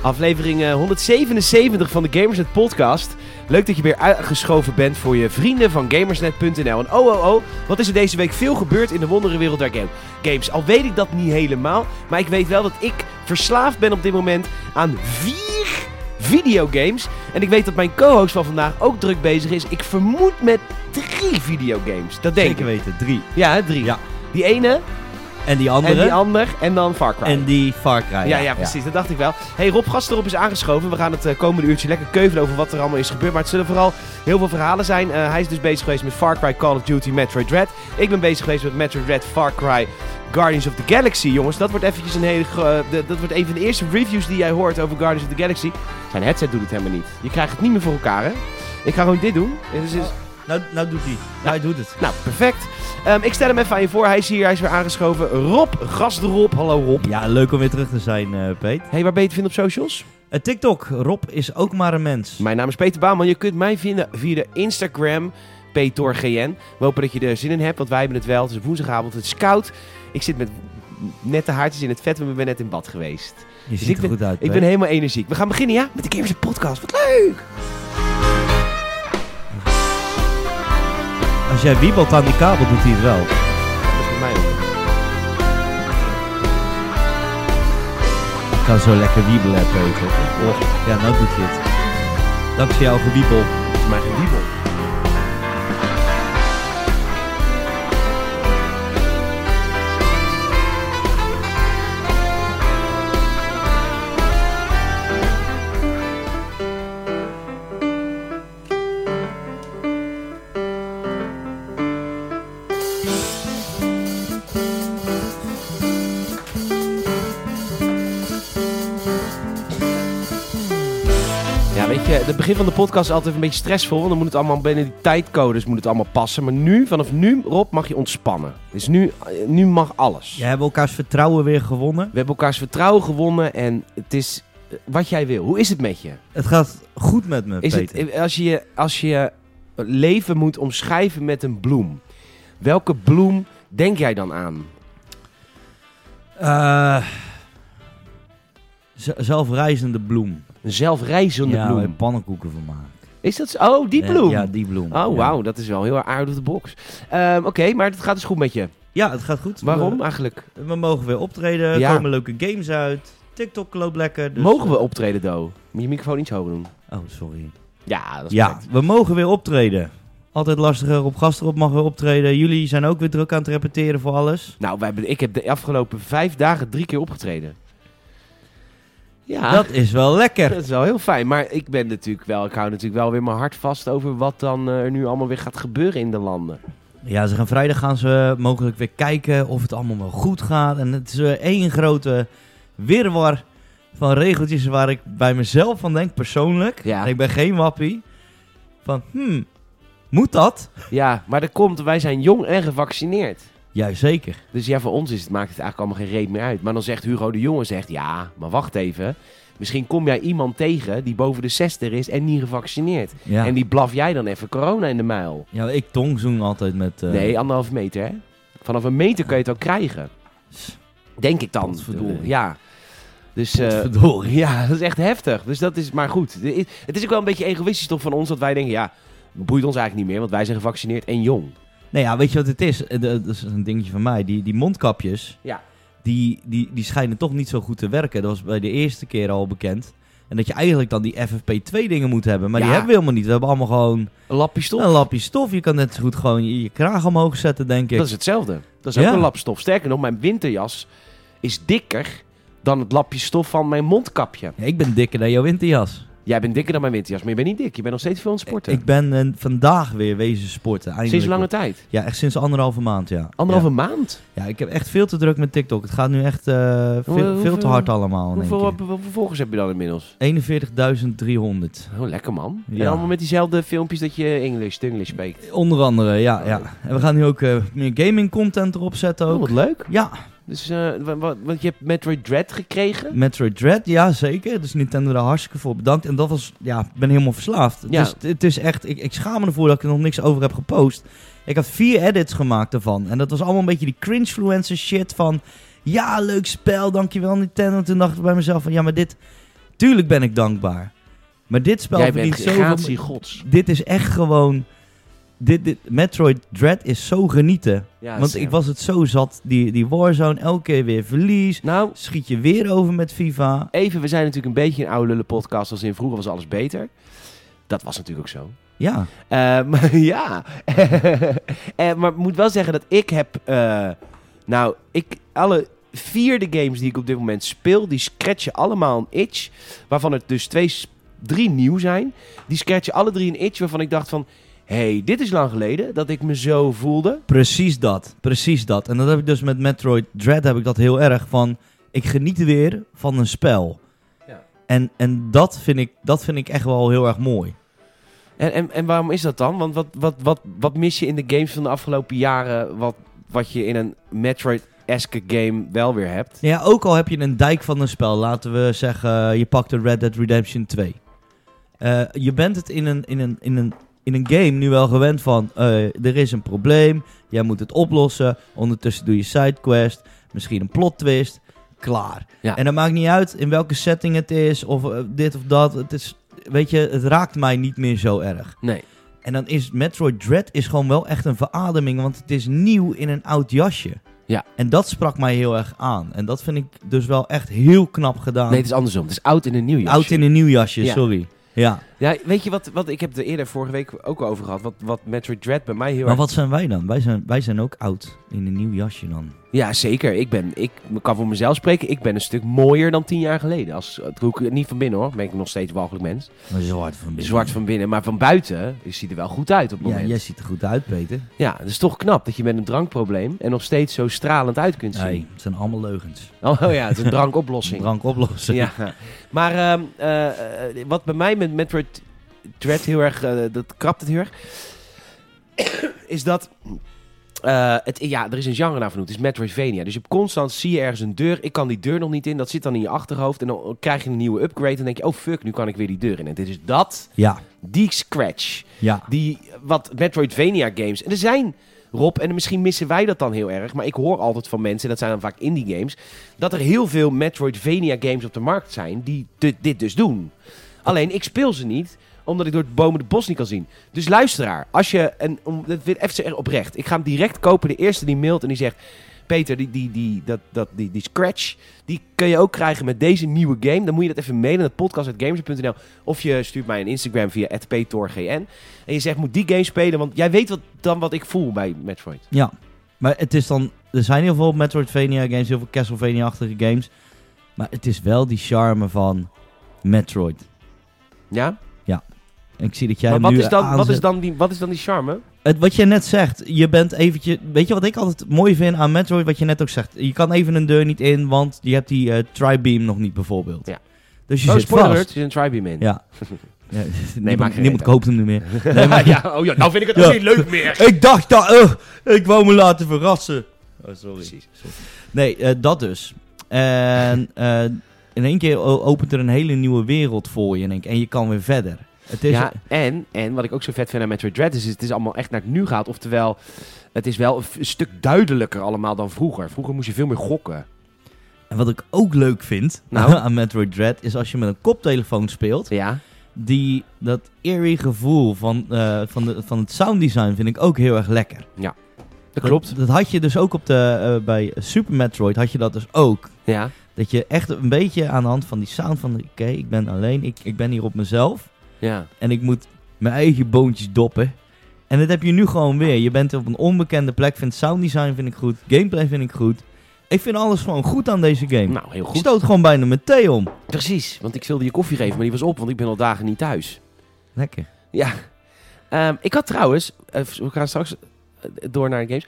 Aflevering eh, 177 van de Gamersnet podcast. Leuk dat je weer aangeschoven bent voor je vrienden van gamersnet.nl. En oh oh oh, wat is er deze week veel gebeurd in de wonderenwereld der game games. Al weet ik dat niet helemaal, maar ik weet wel dat ik verslaafd ben op dit moment aan vier videogames. En ik weet dat mijn co-host van vandaag ook druk bezig is. Ik vermoed met drie videogames. Dat denk Zeker ik. weten, drie. Ja, hè, drie. Ja. Die ene En die andere. en die ander en dan Far Cry. en die Far Cry. Ja, ja, precies. Dat dacht ik wel. Hey, Rob Gasterop is aangeschoven. We gaan het eh, komende uurtje lekker keuvelen over wat er allemaal is gebeurd. Maar het zullen vooral heel veel verhalen zijn. Eh, hij is dus bezig geweest met Far Cry, Call of Duty, Metroid Dread. Ik ben bezig geweest met Metroid Dread, Far Cry, Guardians of the Galaxy. Jongens, dat wordt eventjes een hele... gro- eh, de- dat wordt een van de eerste reviews die jij hoort over Guardians of the Galaxy. Zijn headset doet het helemaal niet. Je krijgt het niet meer voor elkaar, hè? Ik ga gewoon dit doen. En dus is- Nou, nou doet hij. Nou, hij doet het. Nou, perfect. Ehm, ik stel hem even aan je voor. Hij is hier, hij is weer aangeschoven. Rob Gasterop. Hallo, Rob. Ja, leuk om weer terug te zijn, eh, Peet. Hey, waar ben je te vinden op socials? Eh, TikTok, Rob is ook maar een mens. Mijn naam is Peter Bouwman. Je kunt mij vinden via de Instagram PetorGN. We hopen dat je er zin in hebt, want wij hebben het wel. Het is woensdagavond, het is koud. Ik zit met nette haartjes in het vet, want ik ben net in bad geweest. Je ziet dus ik er ben- goed uit, Ik ben Peet. helemaal energiek. We gaan beginnen, ja? Met de Gamers Podcast. Wat leuk! Als jij wiebelt aan die kabel, doet hij het wel. Dat is met mij ook. Ik kan zo lekker wiebelen, Peter. Och, ja, nou doet hij het. Dankzij jouw gewiebel. Dat is mijn gediebel. Ja, weet je, het begin van de podcast is altijd een beetje stressvol. Want dan moet het allemaal binnen die tijdcodes moet het allemaal passen. Maar nu, vanaf nu, Rob, mag je ontspannen. Dus nu, nu mag alles. Jij hebt elkaars vertrouwen weer gewonnen. We hebben elkaars vertrouwen gewonnen en het is eh, wat jij wil. Hoe is het met je? Het gaat goed met me, Is Peter. het, eh, als, je je, als je je leven moet omschrijven met een bloem, welke bloem denk jij dan aan? Eh, z- zelfrijzende bloem. Een zelfrijzende ja, waar je bloem. pannenkoeken van maken. Is dat zo? Oh, die Ja, bloem. Ja, die bloem. Oh, Ja. wauw, dat is wel heel erg out of the box. Ehm, Oké, maar het gaat dus goed met je. Ja, het gaat goed. Waarom eigenlijk? We, we mogen weer optreden. Er Ja. komen leuke games uit. TikTok loopt lekker. Dus... Mogen we optreden, Do? Moet je microfoon iets hoger doen? Oh, sorry. Ja, dat is Ja, perfect. we mogen weer optreden. Altijd lastiger op gastrop mag weer optreden. Jullie zijn ook weer druk aan het repeteren voor alles. Nou, wij hebben, ik heb de afgelopen vijf dagen drie keer opgetreden. Ja. Dat is wel lekker. Dat is wel heel fijn. Maar ik ben natuurlijk wel, ik hou natuurlijk wel weer mijn hart vast over wat dan eh, er nu allemaal weer gaat gebeuren in de landen. Ja, ze gaan vrijdag gaan ze mogelijk weer kijken of het allemaal wel goed gaat. En het is weer één grote wirwar van regeltjes waar ik bij mezelf van denk, persoonlijk. Ja. En ik ben geen wappie. Van, hmm, moet dat? Ja, maar dat komt, wij zijn jong en gevaccineerd. Juist zeker. Dus ja, voor ons is het, maakt het eigenlijk allemaal geen reet meer uit. Maar dan zegt Hugo de Jonge, zegt, ja, maar wacht even. Misschien kom jij iemand tegen die boven de 60 is en niet gevaccineerd. Ja. En die blaf jij dan even corona in de muil. Ja, ik tongzoen altijd met... eh, Nee, anderhalve meter, hè? Vanaf een meter kun je het al krijgen. Denk ik dan. Potverdorie. Ik bedoel, Ja. Dus, eh, Potverdorie. Ja, dat is echt heftig. Dus dat is maar goed. De- Het is ook wel een beetje egoïstisch toch van ons dat wij denken, ja, boeit ons eigenlijk niet meer, want wij zijn gevaccineerd en jong. Nee, Nou ja, weet je wat het is? Eh, de- Dat is een dingetje van mij. Die, die mondkapjes, Ja. die, die, die schijnen toch niet zo goed te werken. Dat was bij de eerste keer al bekend. En dat je eigenlijk dan die FFP2 dingen moet hebben. Maar Ja. die hebben we helemaal niet. We hebben allemaal gewoon Een lapje stof. een lapje stof. Je kan net zo goed gewoon je, je kraag omhoog zetten, denk ik. Dat is hetzelfde. Dat is ook Ja. een lap stof. Sterker nog, mijn winterjas is dikker dan het lapje stof van mijn mondkapje. Ja, ik ben dikker dan jouw winterjas. Jij bent dikker dan mijn winterjas, maar je bent niet dik. Je bent nog steeds veel aan het sporten. Ik ben eh, vandaag weer wezen sporten. Eindelijk. Sinds lange tijd. Oh, Ja, echt sinds anderhalve maand, ja. Anderhalve maand. Ja. Ja, ik heb echt veel te druk met TikTok. Het gaat nu echt eh, veel, hoeveel- veel te hard allemaal. in één Hoeveel, hoeveel volgers heb je dan inmiddels? keer. 41.300. Oh, lekker man. Ja. En allemaal met diezelfde filmpjes dat je English, English spreekt. Onder andere, ja, ja. En we gaan nu ook eh, meer gaming content erop zetten Oh, ook. wat leuk. Ja, Dus, eh, wa- wa- want je hebt Metroid Dread gekregen. Metroid Dread, ja zeker. Dus Nintendo daar hartstikke voor bedankt. En dat was, ja, ik ben helemaal verslaafd. Ja. Dus het is echt, ik, ik schaam me ervoor dat ik er nog niks over heb gepost. Ik had vier edits gemaakt daarvan. En dat was allemaal een beetje die cringefluencer shit van... Ja, leuk spel, dankjewel Nintendo. Toen dacht ik bij mezelf van, ja, maar dit... Tuurlijk ben ik dankbaar. Maar dit spel Jij bent verdient zoveel... gratie gods. Dit is echt gewoon... Dit, dit, Metroid Dread is zo genieten. Ja, Want Sam. ik was het zo zat, die, die Warzone, elke keer weer verlies. Nou, Schiet je weer over met FIFA. even, we zijn natuurlijk een beetje een oude lullen podcast als in vroeger was alles beter. Dat was natuurlijk ook zo. Ja, Eh, maar ja. Eh, maar ik moet wel zeggen dat ik heb. eh, nou, ik. Alle vierde games die ik op dit moment speel, die scratchen allemaal een itch. Waarvan er dus twee, s- drie nieuw zijn. Die scratchen alle drie een itch waarvan ik dacht van. hey, dit is lang geleden dat ik me zo voelde. precies dat. Precies dat. En dat heb ik dus met Metroid Dread heb ik dat heel erg van... Ik geniet weer van een spel. Ja. En, en dat, vind ik, dat vind ik echt wel heel erg mooi. En, en, en waarom is dat dan? Want wat, wat, wat, wat mis je in de games van de afgelopen jaren? Wat, wat je in een Metroid-esque game wel weer hebt? Nou ja, ook al heb je een dijk van een spel. Laten we zeggen, je pakt de Red Dead Redemption 2. Eh, je bent het in een, in, een, in, een, in een game nu wel gewend van... eh, er is een probleem, jij moet het oplossen. Ondertussen doe je sidequest, misschien een plot twist. Klaar. Ja. En dat maakt niet uit in welke setting het is of eh, dit of dat. Het is, weet je, het raakt mij niet meer zo erg. Nee. En dan is Metroid Dread is gewoon wel echt een verademing, want het is nieuw in een oud jasje. Ja. En dat sprak mij heel erg aan. En dat vind ik dus wel echt heel knap gedaan. Nee, het is andersom. Het is oud in een nieuw jasje. Ah. oud in een nieuw jasje, Ja. sorry. Ja. Ja, weet je wat, wat ik heb er eerder vorige week ook al over gehad, wat, wat Metroid Dread bij mij heel Maar erg... wat zijn wij dan? Wij zijn, wij zijn ook oud in een nieuw jasje dan. Ja, zeker. Ik ben, ik kan voor mezelf spreken, ik ben een stuk mooier dan tien jaar geleden. Als, dat doe ik niet van binnen hoor, ben ik nog steeds walgelijk mens. Maar zwart van binnen. Zwart van binnen, maar van buiten ziet hij er wel goed uit op het Ja, moment. jij ziet er goed uit, Peter. Ja, het is toch knap dat je met een drankprobleem en nog steeds zo stralend uit kunt zien. Nee, het zijn allemaal leugens. Oh ja, het is een drankoplossing. Drank oplossen. Ja. Maar ehm, eh, eh, wat bij mij met Metroid Dread heel erg, eh, dat krapt het heel erg, is dat... eh, het, ja, er is een genre naar vernoemd. Het is Metroidvania. Dus je hebt constant zie je ergens een deur. Ik kan die deur nog niet in. Dat zit dan in je achterhoofd. En dan krijg je een nieuwe upgrade. En dan denk je, oh fuck, nu kan ik weer die deur in. En dit is dat, Ja, die scratch. ja. Die, wat Metroidvania games. En er zijn, Rob, en misschien missen wij dat dan heel erg. Maar ik hoor altijd van mensen, dat zijn dan vaak indie games. Dat er heel veel Metroidvania games op de markt zijn die dit, dit dus doen. Alleen ik speel ze niet omdat ik door het bomen het bos niet kan zien. Dus luisteraar, als je. En om, dat vind even er oprecht. Ik ga hem direct kopen. De eerste die mailt en die zegt. Peter, die, die, die, dat, dat, die, die scratch, die kun je ook krijgen met deze nieuwe game. Dan moet je dat even mailen naar podcast.gamers.nl. Of je stuurt mij een Instagram via @petorgn. En je zegt, moet die game spelen, want jij weet wat, dan wat ik voel bij Metroid. Ja, maar het is dan... Er zijn heel veel Metroidvania games, heel veel Castlevania-achtige games. Maar het is wel die charme van Metroid. Ja? En ik zie dat jij maar hem wat nu is, dan, wat, aanzet. is dan die, wat is dan die charme? Het, wat je net zegt, je bent eventjes... Weet je wat ik altijd mooi vind aan Metroid, wat je net ook zegt? Je kan even een deur niet in, want je hebt die eh tri-beam nog niet bijvoorbeeld. Ja. Dus je Oh, zit spoiler vast. alert, er is een tribeam in. Ja. nee, niemand, maakt geen reet niemand uit. koopt hem nu meer. Ja, ja, oh ja, nou vind ik het ook Ja. niet leuk meer. ik dacht dat... eh, ik wou me laten verrassen. Oh, sorry. Precies. Nee, eh, dat dus. En eh, in één keer o- opent er een hele nieuwe wereld voor je. En, ik, en je kan weer verder. Het is, ja, en, en wat ik ook zo vet vind aan Metroid Dread is, het is allemaal echt naar het nu gaat. Oftewel, het is wel een f- een stuk duidelijker allemaal dan vroeger. Vroeger moest je veel meer gokken. En wat ik ook leuk vind Nou? aan Metroid Dread... is als je met een koptelefoon speelt... Ja, die, dat eerie gevoel van, eh, van, de, van het sounddesign vind ik ook heel erg lekker. dat klopt. Dat, dat had je dus ook op de, eh, bij Super Metroid had je dat dus ook. Ja, Dat je echt een beetje aan de hand van die sound van... Oké, ik ben alleen, ik, ik ben hier op mezelf. ja. En ik moet mijn eigen boontjes doppen. En dat heb je nu gewoon weer. Je bent op een onbekende plek. Vind sounddesign vind ik goed. Gameplay vind ik goed. Ik vind alles gewoon goed aan deze game. Nou, heel Ik goed. stoot gewoon bijna mijn thee om. Precies, want ik wilde je koffie geven, maar die was op, want ik ben al dagen niet thuis. Lekker. Ja. Ehm, ik had trouwens, eh, we gaan straks eh, door naar games,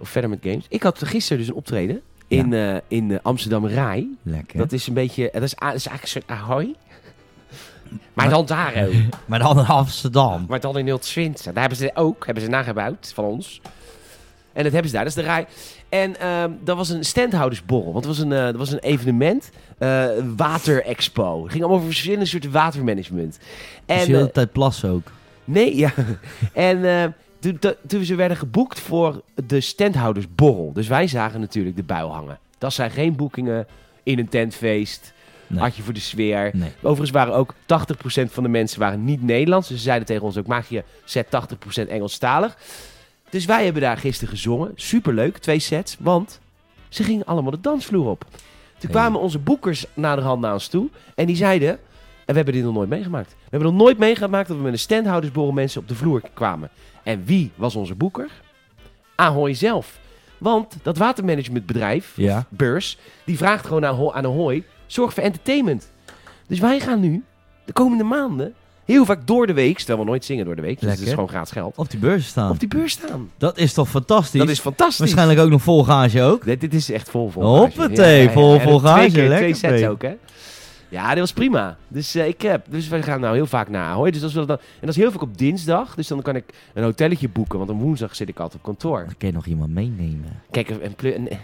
of verder met games. Ik had gisteren dus een optreden in, eh, in eh, Amsterdam Rai. Lekker. Dat is een beetje, eh, dat is, a- dat is eigenlijk een soort ahoy. Maar dan daar ook. Maar dan in Amsterdam. Maar dan in 020. Daar hebben ze ook, hebben ze nagebouwd van ons. En dat hebben ze daar, dat is de rij. En ehm, dat was een standhoudersborrel. Want het was een, eh, dat was een evenement. eh waterexpo. Het ging allemaal over verschillende soorten watermanagement. En, Dus je de eh, hele tijd plassen ook. Nee, ja. En eh, toen, to- toen ze werden geboekt voor de standhoudersborrel. Dus wij zagen natuurlijk de bui hangen. Dat zijn geen boekingen in een tentfeest. Nee. Had je voor de sfeer. Nee. Overigens waren ook 80% van de mensen waren niet Nederlands. Dus ze zeiden tegen ons ook, maak je set 80% Engelstalig. Dus wij hebben daar gisteren gezongen. Superleuk, twee sets. Want ze gingen allemaal de dansvloer op. Toen Hey. kwamen onze boekers naderhand naar ons toe. En die zeiden, en we hebben dit nog nooit meegemaakt. We hebben nog nooit meegemaakt dat we met een standhoudersborrel mensen op de vloer kwamen. En wie was onze boeker? Ahoy zelf. Want dat watermanagementbedrijf, Ja. beurs, die vraagt gewoon aan, Ho- aan Ahoy, zorg voor entertainment. Dus wij gaan nu, de komende maanden, heel vaak door de week, terwijl we nooit zingen door de week, dus het is Lekker. gewoon gratis geld, Op die beurs staan. op die beurs staan. Dat is toch fantastisch? Dat is fantastisch. Waarschijnlijk ook nog vol gage ook. Dit, dit is echt vol vol. Hoppatee, vol- En vol Twee, garage, keer, twee lekker, sets Pete. ook, hè. Ja, dit was prima. Dus eh, ik heb, dus we gaan nou heel vaak naar Ahoy. Dus als we dat dan, en dat is heel vaak op dinsdag, dus dan kan ik een hotelletje boeken, want op woensdag zit ik altijd op kantoor. Dan kun je nog iemand meenemen. Kijk, een, plu- een, eh,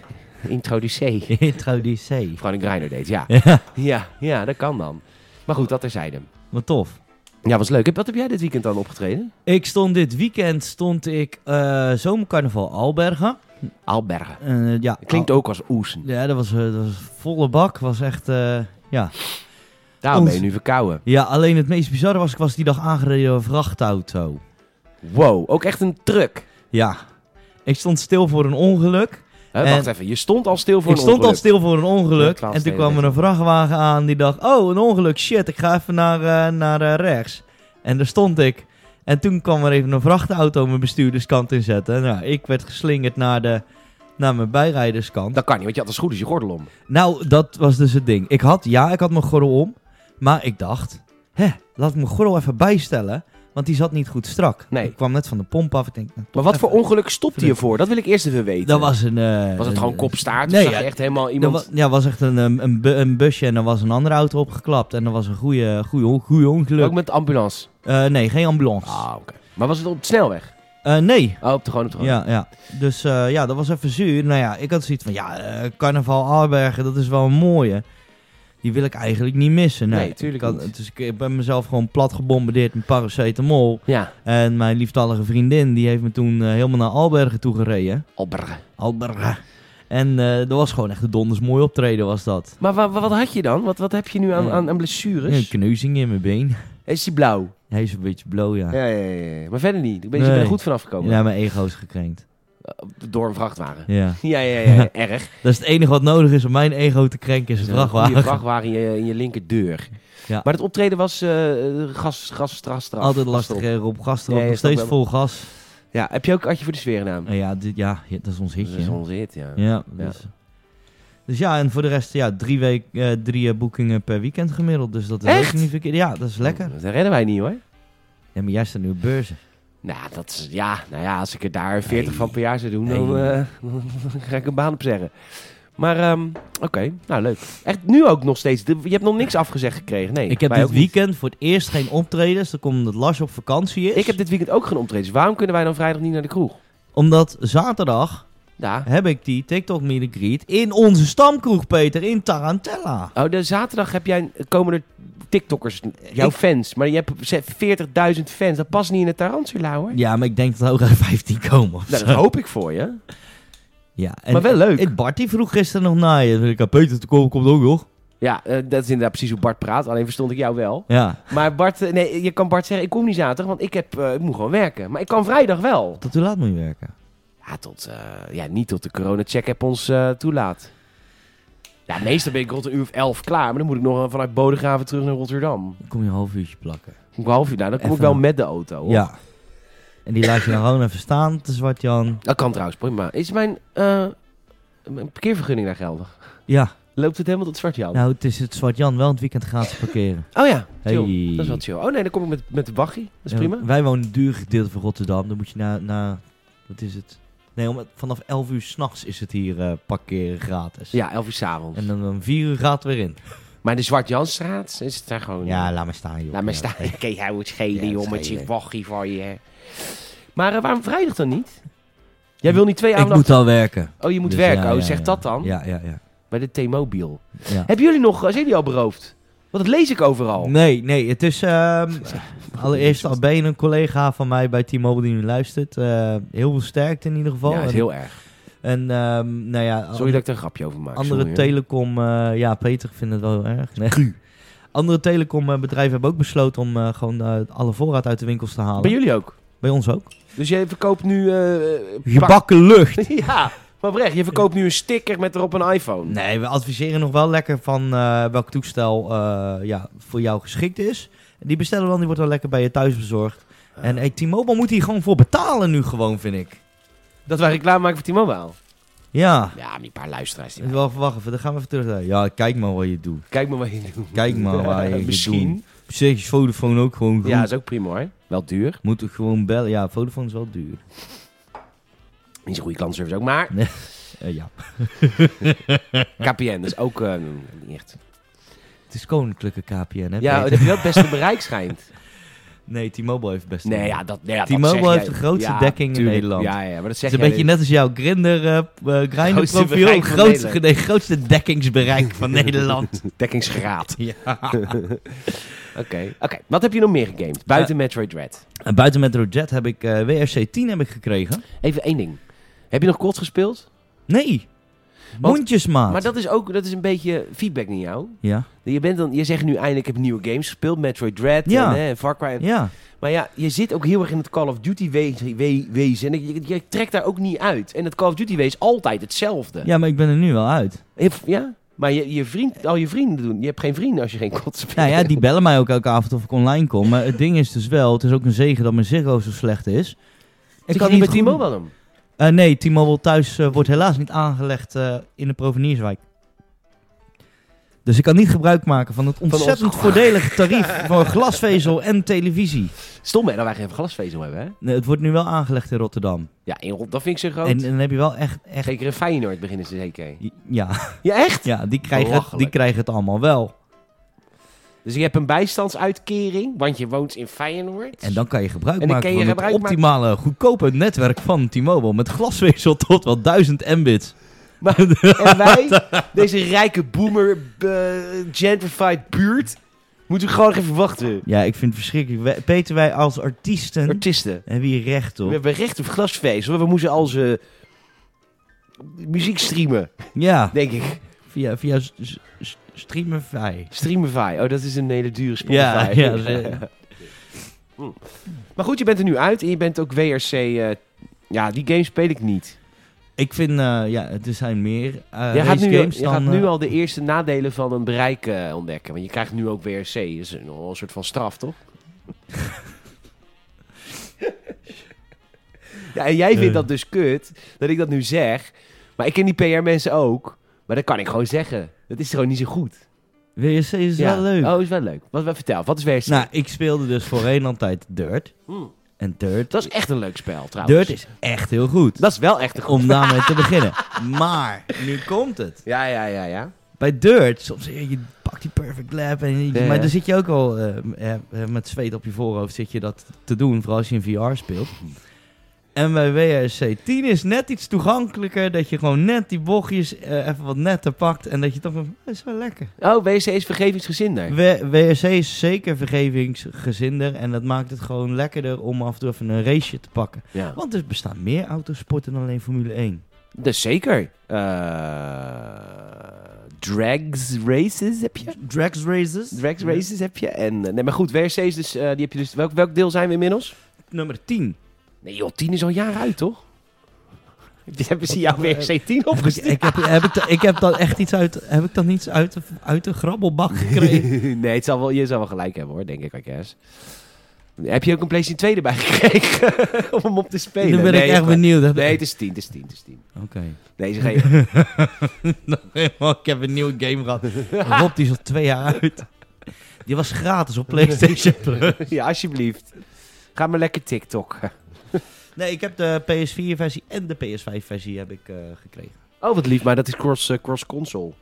een introducee. Introducee. Frank Reiner deed, ja. Ja, Ja, ja, dat kan dan. Maar goed, dat terzijde. wat tof. Ja, was leuk. Heb- Wat heb jij dit weekend dan opgetreden? Ik stond dit weekend stond ik eh zomercarnaval Albergen. Albergen. Eh, ja, Klinkt Al- ook als oesen. Ja, dat was, eh, dat was volle bak. Was echt, eh, ja. Daarom ben je Oes. nu verkouden. ja, alleen het meest bizarre was, ik was die dag aangereden door een vrachtauto. Wow, ook echt een truck. Ja, ik stond stil voor een ongeluk. Hè, En- wacht even, je stond al stil voor ik een stond al ongeluk. stil voor een Ja, ongeluk. twaalf en toen steden kwam er een vrachtwagen aan die dacht, oh, een ongeluk, shit, ik ga even naar, eh, naar eh, rechts. En daar stond ik. En toen kwam er even een vrachtauto mijn bestuurderskant inzetten. Nou, ik werd geslingerd naar, de, naar mijn bijrijderskant. Dat kan niet, want je had als goed is je gordel om. Nou, dat was dus het ding. Ik had, ja, ik had mijn gordel om. Maar ik dacht, hè, laat ik mijn gordel even bijstellen. Want die zat niet goed strak. Nee. Ik kwam net van de pomp af. Ik denk, nou, Maar wat voor ongeluk stopte je Even- voor? Dat wil ik eerst even weten. dat was een... eh, was het gewoon een- kopstaart? Of Nee, zag je ja, echt helemaal dat iemand... wa- ja, was echt een, ehm, een, bu- een busje en er was een andere auto opgeklapt. En er was een goede, goede, on- goede ongeluk. Ook met de ambulance? Eh, nee, geen ambulance. Ah, oké. Maar was het op de snelweg? Eh, nee. Oh, op de gewoon op de gewoon. Ja, ja. Dus eh, ja, dat was even zuur. Nou ja, ik had zoiets van, ja, eh, carnaval Albergen, dat is wel een mooie. Die wil ik eigenlijk niet missen. Nee, Nee, tuurlijk ik had- niet. Dus ik, ik ben mezelf gewoon plat gebombardeerd met paracetamol. Ja, En mijn lieftallige vriendin, die heeft me toen eh, helemaal naar Albergen toe gereden. Albergen. Albergen. En eh, dat was gewoon echt een donders mooi optreden was dat. Maar wa- wa- wat had je dan? Wat, wat heb je nu aan, Ja. aan, aan Een blessures? kneuzing in mijn been. Is die blauw? Hij is een beetje blauw, ja. Ja, ja, ja. ja. Maar verder niet. Ik ben, je Nee. bent er goed vanaf gekomen. Ja, mijn ego is gekrenkt. Door een vrachtwagen. Ja. Ja, ja, ja, ja, erg. Dat is het enige wat nodig is om mijn ego te krenken, is een Je vrachtwagen. vrachtwagen in je, in je linkerdeur. Ja. Maar het optreden was eh gas, gas, gas, straf. Altijd Gas lastig erop. hè, Rob Gaster, Nee, nog is dat steeds wel- vol gas. Ja, heb je ook Adje voor de sfeer gedaan? Nou ja, dit, ja, ja, dat is ons Dat is hitje. hè. ons hit, ja. Ja, Ja. dus. dus ja, en voor de rest, ja, drie, week, eh, drie eh, boekingen per weekend gemiddeld. Dus dat is Echt? Oh. ook niet verkeerd. Ja, dat is lekker. Dat redden wij niet hoor. Ja, maar jij staat nu op beurzen. Nou, dat is, ja, nou ja, als ik er daar 40 Nee. van per jaar zou doen, dan, Nee. eh, dan ga ik een baan opzeggen. Maar ehm, oké, nou leuk. Echt nu ook nog steeds. De- Je hebt nog niks afgezegd gekregen. Nee, Ik heb wij dit ook niet. weekend voor het eerst geen optredens. Dat komt omdat Lars op vakantie is. Ik heb dit weekend ook geen optredens. Waarom kunnen wij dan vrijdag niet naar de kroeg? Omdat zaterdag Ja. heb ik die TikTok meet and greet in onze stamkroeg, Peter, in Tarantella. Oh, de zaterdag heb jij, komen er TikTokkers, jouw Ik- fans. Maar je hebt ze- 40.000 fans. Dat past niet in het Tarantula hoor. Ja, maar ik denk dat er ook aan 15 komen of Nou, zo. dat hoop ik voor je. Ja, en- Maar wel leuk. En Bart die vroeg gisteren nog naar je. Ik, ja, Peter, te komen komt ook nog. Ja, eh, dat is inderdaad precies hoe Bart praat. Alleen verstond ik jou wel. Ja. Maar Bart, eh, nee, je kan Bart zeggen, ik kom niet zaterdag, want ik, heb, eh, ik moet gewoon werken. Maar ik kan vrijdag wel. Tot hoe laat moet je werken? Ja, tot, eh, ja niet tot de corona-check-app ons eh, toelaat. Ja, meestal ben ik rond een uur of elf klaar. Maar dan moet ik nog eh, vanuit Bodegraven terug naar Rotterdam. Dan kom je een half uurtje plakken. Om half uur, nou, dan kom ik Even- wel met de auto. hoor. Ja. En die laat je dan gewoon even staan, te zwart Jan. Dat kan trouwens, prima. Is mijn eh, een parkeervergunning daar geldig? Ja, Loopt het helemaal tot zwart, Jan? nou het is het Zwart-Jan wel het weekend gratis parkeren. Oh ja, chill. Hey. Dat is wel chill. Oh nee, dan kom ik met, met de waggie. Dat is Ja, prima. Wij wonen in een duur gedeelte van Rotterdam. Dan moet je naar, naar wat is het? Nee, om, vanaf 11 uur s'nachts is het hier eh, parkeren gratis. Ja, elf uur 's avonds. En dan om 4 uur gaat het weer in. Maar in de Zwart-Janstraat is het daar gewoon... eh, Ja, laat maar staan, joh. Laat me Ja, staan. oké. Oké, hij moet schelen, Ja, joh, met schelen. je waggie van je. Maar eh, waarom vrijdag dan niet? Jij wil niet twee Ik avonden... moet al werken. achter- Oh, je moet Dus werken. ja, oh, ja, zeg ja. dat dan. Ja, ja, ja. Bij de T-Mobile. ja. Hebben jullie nog... eh, Zijn jullie al beroofd? Want dat lees ik overal. Nee, nee, het is... ehm, allereerst al ben je een collega van mij bij T-Mobile die nu luistert. eh, heel veel sterkte in ieder geval. Ja, dat is En- heel erg. En ehm, nou ja, Sorry dat ik er een grapje over maak. andere sorry, hoor. telecom... eh, ja, Peter vindt het wel heel erg. Nee. Andere telecombedrijven hebben ook besloten om eh, gewoon eh, alle voorraad uit de winkels te halen. Bij jullie ook. Bij ons ook. Dus jij verkoopt nu... eh, eh, Je pak- bakken lucht! ja, maar oprecht. Je verkoopt nu een sticker met erop een iPhone. Nee, we adviseren nog wel lekker van eh, welk toestel eh, ja, voor jou geschikt is. En Die bestellen dan, die wordt dan lekker bij je thuis bezorgd. En hey, T-Mobile moet hier gewoon voor betalen nu gewoon, vind ik. Dat wij reclame maken voor T-Mobile. Ja, Ja, maar die paar luisteraars. Die ik wel verwachten. even, Dan gaan we even terug naar... Ja, kijk maar wat je doet. Kijk maar wat je doet. Kijk maar waar je Misschien. doet. Op zich is Vodafone ook gewoon goed. Ja, is ook prima hoor. Wel duur. Moet ik gewoon bellen. Ja, Vodafone is wel duur. Niet zo'n goede klantenservice ook, maar Eh, ja. KPN is ook eh, niet echt. Het is koninklijke KPN, hè? Ja, Peter? dat je wel het beste bereik schijnt. Nee, T-Mobile heeft best... Nee, ja, dat, nee, ja, dat T-Mobile zeg jij. heeft de grootste dekking in tuurlijk. Nederland. Ja, ja, maar dat zeg Het is een jij beetje net als jouw grinder eh eh, grinder Grootste profiel. bereik van Grootste, Nederland. nee, grootste dekkingsbereik van Nederland. dekkingsgraad. Ja. Oké, oké. Wat heb je nog meer gegamed? Buiten Metroid Dread. En Eh, buiten Metro Jet heb ik eh, WRC 10 heb ik gekregen. Even één ding. Heb je nog kots gespeeld? Nee. Want- Mondjesmaat. Maar dat is ook dat is een beetje feedback naar jou. Ja. Je, bent dan, je zegt nu eindelijk, ik heb nieuwe games gespeeld. Metroid Dread Ja. en hè, Far Cry. Ja. Maar ja, je zit ook heel erg in het Call of Duty we- we- wezen. En je, je trekt daar ook niet uit. En het Call of Duty wezen is altijd hetzelfde. ja, maar ik ben er nu wel uit. Je- Ja, maar je, je vriend, al je vrienden doen. Je hebt geen vrienden als je geen kot speelt. Nou ja, die bellen mij ook elke avond of ik online kom. Maar het ding is dus wel, het is ook een zegen dat mijn Ziggo zo slecht is. ik kan niet met goed- T-Mobile om. Eh, nee, T-Mobile thuis eh, wordt helaas niet aangelegd eh, in de Provenierswijk. Dus ik kan niet gebruik maken van het ons ontzettend glas. voordelige tarief voor glasvezel en televisie. Stom hè, dat wij geen glasvezel hebben hè. Nee, het wordt nu wel aangelegd in Rotterdam. Ja, in Rot- dat vind ik zo groot. En, en dan heb je wel echt... echt Zeker in Feyenoord beginnen ze zeker. ja, Ja, echt? ja die, krijgen het, die Belachelijk. krijgen het allemaal wel. Dus je hebt een bijstandsuitkering, want je woont in Feyenoord. En dan kan je gebruik En dan maken kan je van het gebruik maken- optimale, goedkope netwerk van T-Mobile. Met glasvezel tot wel 1000 Mbits. En wij, deze rijke boomer, eh, gentrified buurt, moeten we gewoon even wachten. Ja, ik vind het verschrikkelijk. Wij- Peter, wij als artiesten Artiesten. hebben hier recht We op. hebben recht op glasvezel. We moeten al ze muziek streamen, Ja. denk ik. Via, via s- s- s- Streamify. Streamify. Oh, dat is een hele dure Spotify. Hm. Ja, ja, ze- Maar goed, je bent er nu uit en je bent ook WRC. eh, ja, die game speel ik niet. ik vind, eh, ja, er zijn meer eh je gaat, race nu, games je dan... gaat eh, nu al de eerste nadelen van een bereik eh, ontdekken. Want je krijgt nu ook WRC. Dat is een, een soort van straf, toch? ja, en jij vindt dat dus kut dat ik dat nu zeg. Maar ik ken die PR-mensen ook. Maar dat kan ik gewoon zeggen. Dat is gewoon niet zo goed. WRC is Ja. wel leuk. Oh, is wel leuk. Wat, wat vertel, wat is WRC? Nou, ik speelde dus voorheen altijd Dirt. Hmm. En Dirt, Dat is echt een leuk spel, trouwens. Dirt is echt heel goed. Dat is wel echt een goed Om daarmee te beginnen. Maar, nu komt het. Ja, ja, ja, ja. Bij Dirt, soms eh, je pakt die perfect lap. En, je- Ja, Maar ja. dan zit je ook al eh, eh, eh, met zweet op je voorhoofd zit je dat te doen. Vooral als je in VR speelt. En bij WRC 10 is net iets toegankelijker. Dat je gewoon net die bochtjes eh, even wat netter pakt. En dat je toch van, dat is wel lekker. Oh, WC is vergevingsgezinder. W- WRC is zeker vergevingsgezinder. En dat maakt het gewoon lekkerder om af en toe even een raceje te pakken. Ja. Want er bestaan meer autosporten dan alleen Formule 1. Dus zeker. Eh, drags races heb je. Drags races. Drags races heb je. En, eh, nee, maar goed, WRC is dus, eh, die heb je dus. Welk, welk deel zijn we inmiddels? Nummer 10. Nee, joh, 10 is al jaren uit, toch? Hebben ze jouw WRC 10 opgestuurd? Ik heb, heb, ik, da- ik heb dan echt iets uit, heb ik dan iets uit, de, uit de grabbelbak gekregen? nee, het zal wel, je zal wel gelijk hebben hoor, denk ik, I guess. Heb je ook een PlayStation 2 erbij gekregen om hem op te spelen? Nu ben Nee, ik is echt maar- benieuwd. Dat- Nee, het is 10, het is 10, het is 10. Oké. Nee, ze geen... Nog helemaal, ik heb een nieuwe game gehad. Rob, die is al twee jaar uit. Die was gratis op PlayStation Plus. ja, alsjeblieft. Ga maar lekker TikTok. Nee, ik heb de PS4-versie en de PS5-versie heb ik eh, gekregen. Oh, wat lief, maar dat is cross, eh, cross-console.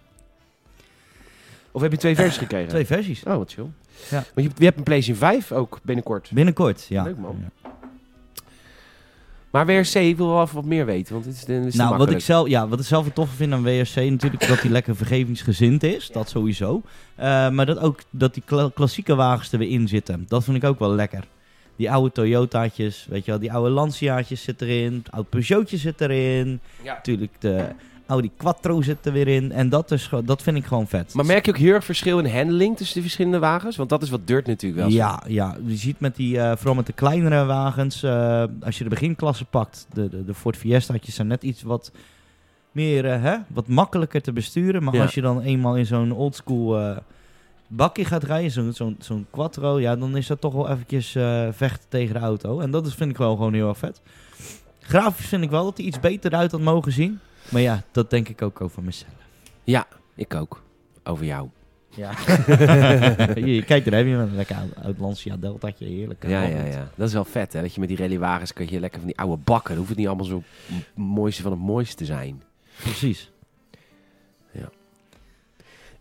Of heb je twee versies gekregen? Eh, Twee versies. Oh, wat chill. Ja. Want je, je hebt een PlayStation 5 ook binnenkort. Binnenkort, ja. Leuk, man. Maar WRC, ik wil wel even wat meer weten, want dit is, dit is te nou, wat ik, makkelijk. zelf, ja, wat ik zelf het toffe vind aan WRC natuurlijk, dat hij lekker vergevingsgezind is. Dat sowieso. Eh, maar dat ook dat die kla- klassieke wagens er weer in zitten. Dat vind ik ook wel lekker. Die oude Toyotaatjes, weet je wel, die oude Lanciaatjes zit erin. Het oude Peugeotje zit erin. Ja. Natuurlijk de Audi Quattro zit er weer in. En dat, is, gewoon- dat vind ik gewoon vet. Maar merk je ook heel erg verschil in handling tussen de verschillende wagens? Want dat is wat Dirt natuurlijk wel. Ja, ja, je ziet met die, eh, vooral met de kleinere wagens, eh, als je de beginklasse pakt, de, de, de Ford Fiesta'tjes zijn net iets wat meer, eh, hè, wat makkelijker te besturen. Maar Ja. als je dan eenmaal in zo'n oldschool eh bakje gaat rijden, zo'n zo'n zo'n quattro, ja, dan is dat toch wel eventjes eh, vechten tegen de auto. En dat is, vind ik wel gewoon heel erg vet. Grafisch vind ik wel dat hij iets beter uit had mogen zien. Maar ja, dat denk ik ook over mezelf. Ik ook. Over jou. Ja. Hier, kijk, daar heb je een lekker oud- oud Lancia Delta'tje, heerlijk. eh, Ja, ja, ja. Dat is wel vet, hè? Dat je met die rallywagens kun je lekker van die oude bakken. Dan hoeft het niet allemaal zo m- mooiste van het mooiste te zijn. Precies.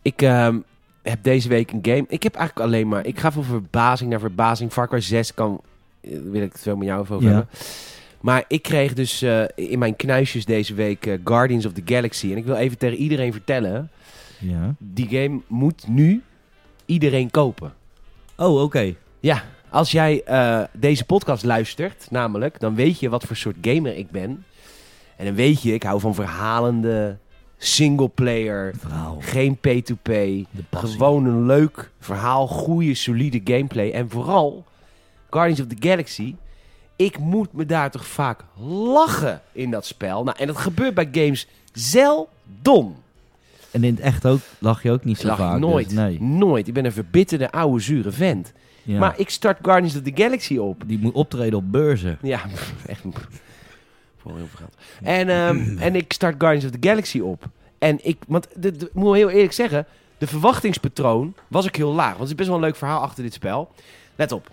Ik ehm, heb deze week een game. Ik heb eigenlijk alleen maar. Ik ga van verbazing naar verbazing. Far Cry 6 kan. eh, Wil ik het wel met jou even over Ja. hebben. Maar ik kreeg dus eh, in mijn knuisjes deze week eh, Guardians of the Galaxy. En ik wil even tegen iedereen vertellen: Ja. die game moet nu iedereen kopen. Oh, oké. Ja, als jij eh, deze podcast luistert, namelijk, dan weet je wat voor soort gamer ik ben. En dan weet je, ik hou van verhalende, singleplayer, Verhaal. geen pay-to-pay. De passie. Gewoon een leuk verhaal, goede, solide gameplay. En vooral, Guardians of the Galaxy, ik moet me daar toch vaak lachen in dat spel. Nou, en dat gebeurt bij games zeldom. En in het echt ook lag je ook niet Ik zo lach vaak. dus nooit, nee. nooit. Ik ben een verbitterde, oude, zure vent. Ja. Maar ik start Guardians of the Galaxy op. die moet optreden op beurzen. Ja, echt. Voor heel veel geld. En, ehm, en ik start Guardians of the Galaxy op. En ik, want de, de- ik moet heel eerlijk zeggen, de verwachtingspatroon was ook heel laag. Want het is best wel een leuk verhaal achter dit spel. Let op.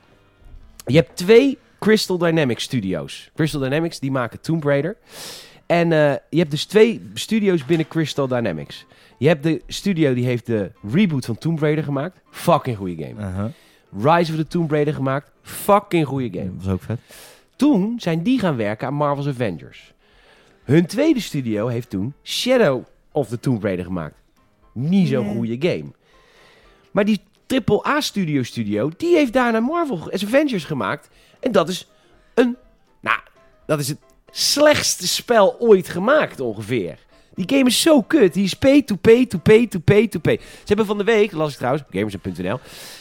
Je hebt twee Crystal Dynamics studios. Crystal Dynamics, die maken Tomb Raider. En eh, je hebt dus twee studios binnen Crystal Dynamics. Je hebt de studio die heeft de reboot van Tomb Raider gemaakt. Fucking goede game. Uh-huh. Rise of the Tomb Raider gemaakt. Fucking goede game. Dat was ook vet. Toen zijn die gaan werken aan Marvel's Avengers. Hun tweede studio heeft toen Shadow of the Tomb Raider gemaakt. Niet zo'n Nee. goede game. Maar die AAA studio studio, die heeft daarna Marvel Avengers gemaakt. En dat is een, nou, dat is het slechtste spel ooit gemaakt ongeveer. Die game is zo kut. Die is pay to pay to pay to pay to pay. Ze hebben van de week, las ik trouwens, op gamers.nl.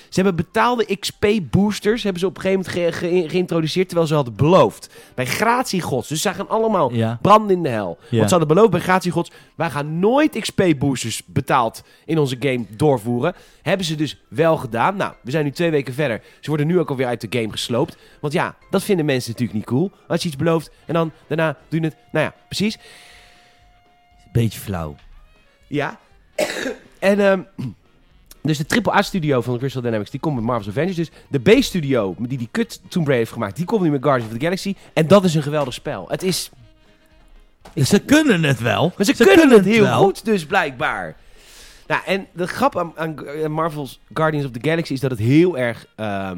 Ze hebben betaalde XP boosters hebben ze op een gegeven moment ge- ge- geïntroduceerd terwijl ze hadden beloofd. Bij gratiegods. Dus zij gaan allemaal Ja. branden in de hel. Ja. Want ze hadden beloofd bij gratiegods, wij gaan nooit XP boosters betaald in onze game doorvoeren. Hebben ze dus wel gedaan. Nou, we zijn nu twee weken verder. Ze worden nu ook alweer uit de game gesloopt. Want ja, dat vinden mensen natuurlijk niet cool. Als je iets belooft en dan daarna doe je het. Nou ja, precies. Beetje flauw. Ja. en ehm, dus de AAA-studio van Crystal Dynamics, die komt met Marvel's Avengers. Dus de B-studio, die die kut Tomb Raider heeft gemaakt, die komt nu met Guardians of the Galaxy. En dat is een geweldig spel. Het is... Ze kunnen het wel. Maar ze, kunnen, het heel goed, dus blijkbaar. Nou, en de grap aan, aan aan Marvel's Guardians of the Galaxy is dat het heel erg ehm,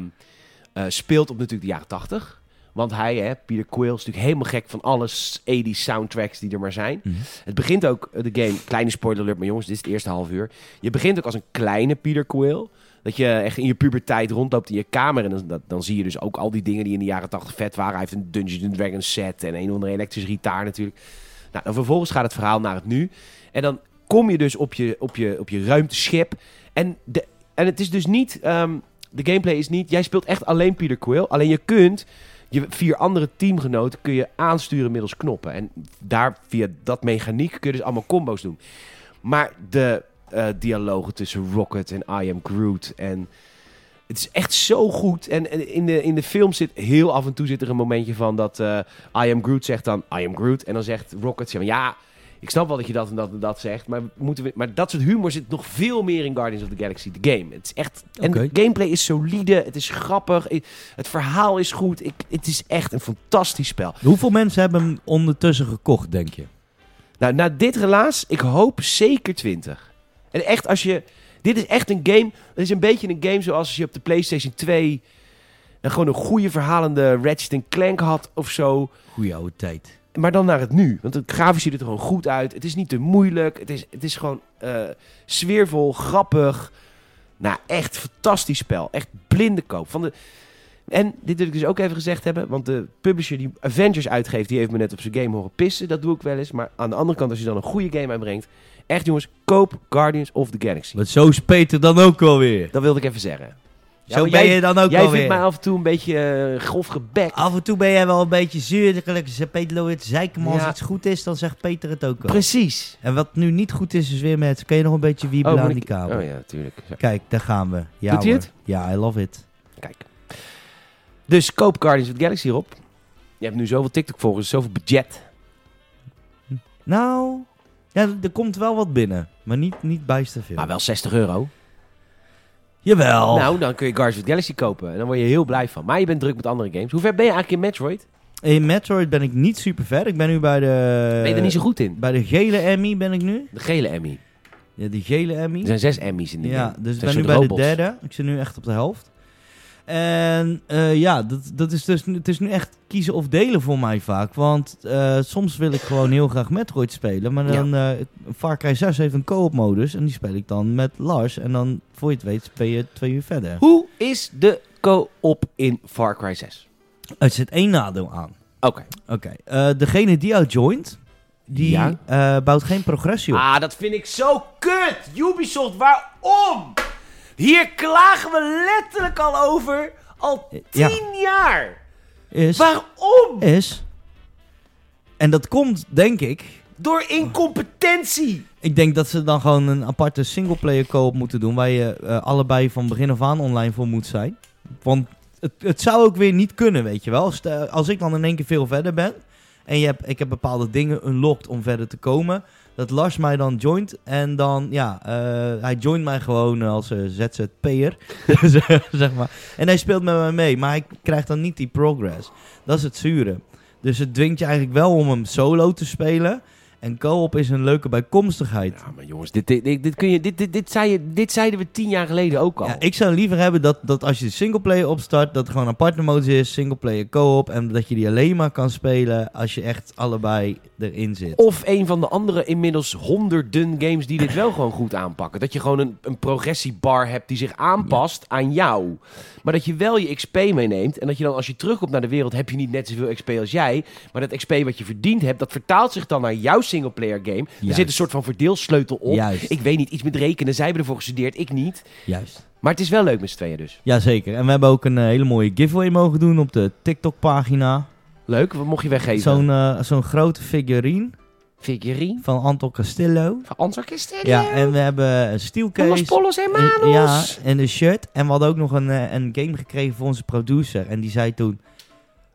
eh, speelt op natuurlijk de jaren 80. Want hij, hè, Peter Quill, is natuurlijk helemaal gek van alle 80 soundtracks die er maar zijn. Mhm. Het begint ook, eh, de game, kleine spoiler alert, maar jongens, dit is het eerste half uur. Je begint ook als een kleine Peter Quill. Dat je echt in je puberteit rondloopt in je kamer. En dan, dat- dan zie je dus ook al die dingen die in de jaren 80 vet waren. Hij heeft een Dungeons and Dragons set en een of andere elektrische gitaar natuurlijk. Nou, dan vervolgens gaat het verhaal naar het nu. En dan kom je dus op je, op je, op je ruimteschip. En, de, en het is dus niet... ehm, de gameplay is niet... Jij speelt echt alleen Peter Quill. Alleen je kunt... Je vier andere teamgenoten kun je aansturen middels knoppen. En daar, via dat mechaniek, kun je dus allemaal combo's doen. Maar de eh, dialogen tussen Rocket en I Am Groot en Het is echt zo goed. En, en in, de, in de film zit heel af en toe zit er een momentje van dat eh, I am Groot zegt dan I am Groot. En dan zegt Rocket zegt van ja, ik snap wel dat je dat en dat en dat zegt. Maar, moeten we, maar dat soort humor zit nog veel meer in Guardians of the Galaxy, de game. Het is echt, en Oké. de gameplay is solide, het is grappig, i- het verhaal is goed. Ik, het is echt een fantastisch spel. Hoeveel mensen hebben hem ondertussen gekocht, denk je? Nou, na dit relaas, ik hoop zeker 20. En echt, als je. Dit is echt een game. Het is een beetje een game zoals als je op de PlayStation 2. En gewoon een goede verhalende Ratchet Clank had of zo. Goeie oude tijd. Maar dan naar het nu. Want het grafisch ziet het er gewoon goed uit. Het is niet te moeilijk. Het is, het is gewoon eh, sfeervol, grappig. Nou, echt fantastisch spel. Echt blinde koop. Van de... En dit wil ik dus ook even gezegd hebben. Want de publisher die Avengers uitgeeft, die heeft me net op zijn game horen pissen. Dat doe ik wel eens. Maar aan de andere kant, als je dan een goede game uitbrengt. Echt jongens, koop Guardians of the Galaxy. Want zo is Peter dan ook alweer. Dat wilde ik even zeggen. Ja, zo maar ben jij- je dan ook Jij vindt alweer. Ah, mij af en toe een beetje eh, grof gebek. Af en toe ben jij wel een beetje zuur. Gelukkig zegt Peter Loo het zeiken, maar Ja. als iets goed is, dan zegt Peter het ook al. Precies. En wat nu niet goed is, is weer met... Kun je nog een beetje wiebelen moet aan ik- die kabel? Oh ja, natuurlijk. Kijk, daar gaan we. Ja, Doet hij hoor. het? Ja, I love it. Kijk. Dus koop Guardians of the Galaxy op. Je hebt nu zoveel TikTok-volgers, zoveel budget. Nou, ja, er komt wel wat binnen. Maar niet, niet bijster veel. Maar wel 60 euro. Jawel. Nou, dan kun je Guardians of the Galaxy kopen. En dan word je heel blij van. Maar je bent druk met andere games. Hoe ver ben je eigenlijk in Metroid? In Metroid ben ik niet super ver. Ik ben nu bij de... ben je er niet zo goed in? Bij de gele Emmy ben ik nu. De gele Emmy. Ja, die gele Emmy. Er zijn zes Emmys in de Ja, game. dus ik Het zijn ben nu soort bij robots. de derde. Ik zit nu echt op de helft. En eh, ja, dat, dat is dus, nu- het is nu echt kiezen of delen voor mij vaak. Want eh, soms wil ik gewoon heel graag Metroid spelen. Maar dan, eh Far Cry 6 heeft een co-op modus. En die speel ik dan met Lars. En dan, voor je het weet, ben je twee uur verder. Hoe is de co-op in Far Cry 6? Er zit één nadeel aan. Oké. Oké, eh, degene die jou joint, die Ja. eh, bouwt geen progressie op. Ah, dat vind ik zo kut! Ubisoft, waarom? Hier klagen we letterlijk al over. Al tien Ja. jaar. Is, Waarom? is, en dat komt, denk ik, Door incompetentie. Ik denk dat ze dan gewoon een aparte singleplayer co-op moeten doen. Waar je eh, allebei van begin af aan online voor moet zijn. Want het, het zou ook weer niet kunnen, weet je wel. Stel- Als ik dan in één keer veel verder ben. En je hebt, ik heb bepaalde dingen unlocked om verder te komen. Dat Lars mij dan joint. En dan, ja, eh, hij joint mij gewoon als eh, ZZP'er. zeg maar. En hij speelt met mij mee. Maar hij krijgt dan niet die progress. Dat is het zure. Dus het dwingt je eigenlijk wel om hem solo te spelen. En co-op is een leuke bijkomstigheid. Ja, maar jongens, dit, dit, dit, dit kun je, dit, dit, dit, zei je, dit zeiden we tien jaar geleden ook al. Ja, ik zou liever hebben dat, dat als je de singleplayer opstart, dat er gewoon een partnermodus is, singleplayer co-op. En dat je die alleen maar kan spelen als je echt allebei erin zit. Of een van de andere inmiddels honderden games die dit wel gewoon goed aanpakken. Dat je gewoon een, een progressiebar hebt die zich aanpast aan jou. Maar dat je wel je XP meeneemt. En dat je dan als je terugkomt naar de wereld heb je niet net zoveel XP als jij. Maar dat XP wat je verdiend hebt, dat vertaalt zich dan naar jouw singleplayer game. Er Juist. zit een soort van verdeelsleutel op. Juist. Ik weet niet, iets met rekenen. Zij hebben ervoor gestudeerd, ik niet. Juist. Maar het is wel leuk met z'n tweeën dus. Jazeker. En we hebben ook een eh, hele mooie giveaway mogen doen op de TikTok-pagina. Leuk, wat mocht je weggeven? Zo'n eh, zo'n grote figurine figurine. van Anton Castillo. Van Ans Orkestel. Ja, en we hebben een Los steelcase. Polos Eh, Ja, Hermanos. en een shirt. En we hadden ook nog een, eh, een game gekregen voor onze producer. En die zei toen...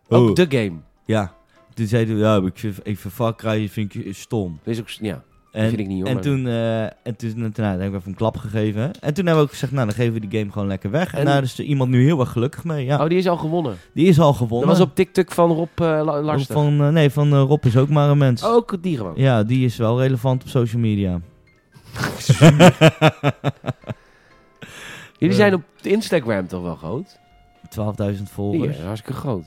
Ook de game. Ja. Toen zei hij, ja, ik vind, ik vind Far Cry vind ik stom. Dat is ook, ja, En, vind ik niet, hoor, En maar- toen, eh, en toen, nou, toen hebben we even een klap gegeven. En toen hebben we ook gezegd, nou, dan geven we die game gewoon lekker weg. En, En- daar is er iemand nu heel erg gelukkig mee. Ja, Oh, die is al gewonnen. die is al gewonnen. Dat was op TikTok van Rob eh, La- Larsen. Oh. Van, eh, nee, van eh, Rob is ook maar een mens. Ook die gewoon. Ja, die is wel relevant op social media. Jullie zijn op Instagram toch wel groot? 12.000 Die is volgers. hartstikke groot.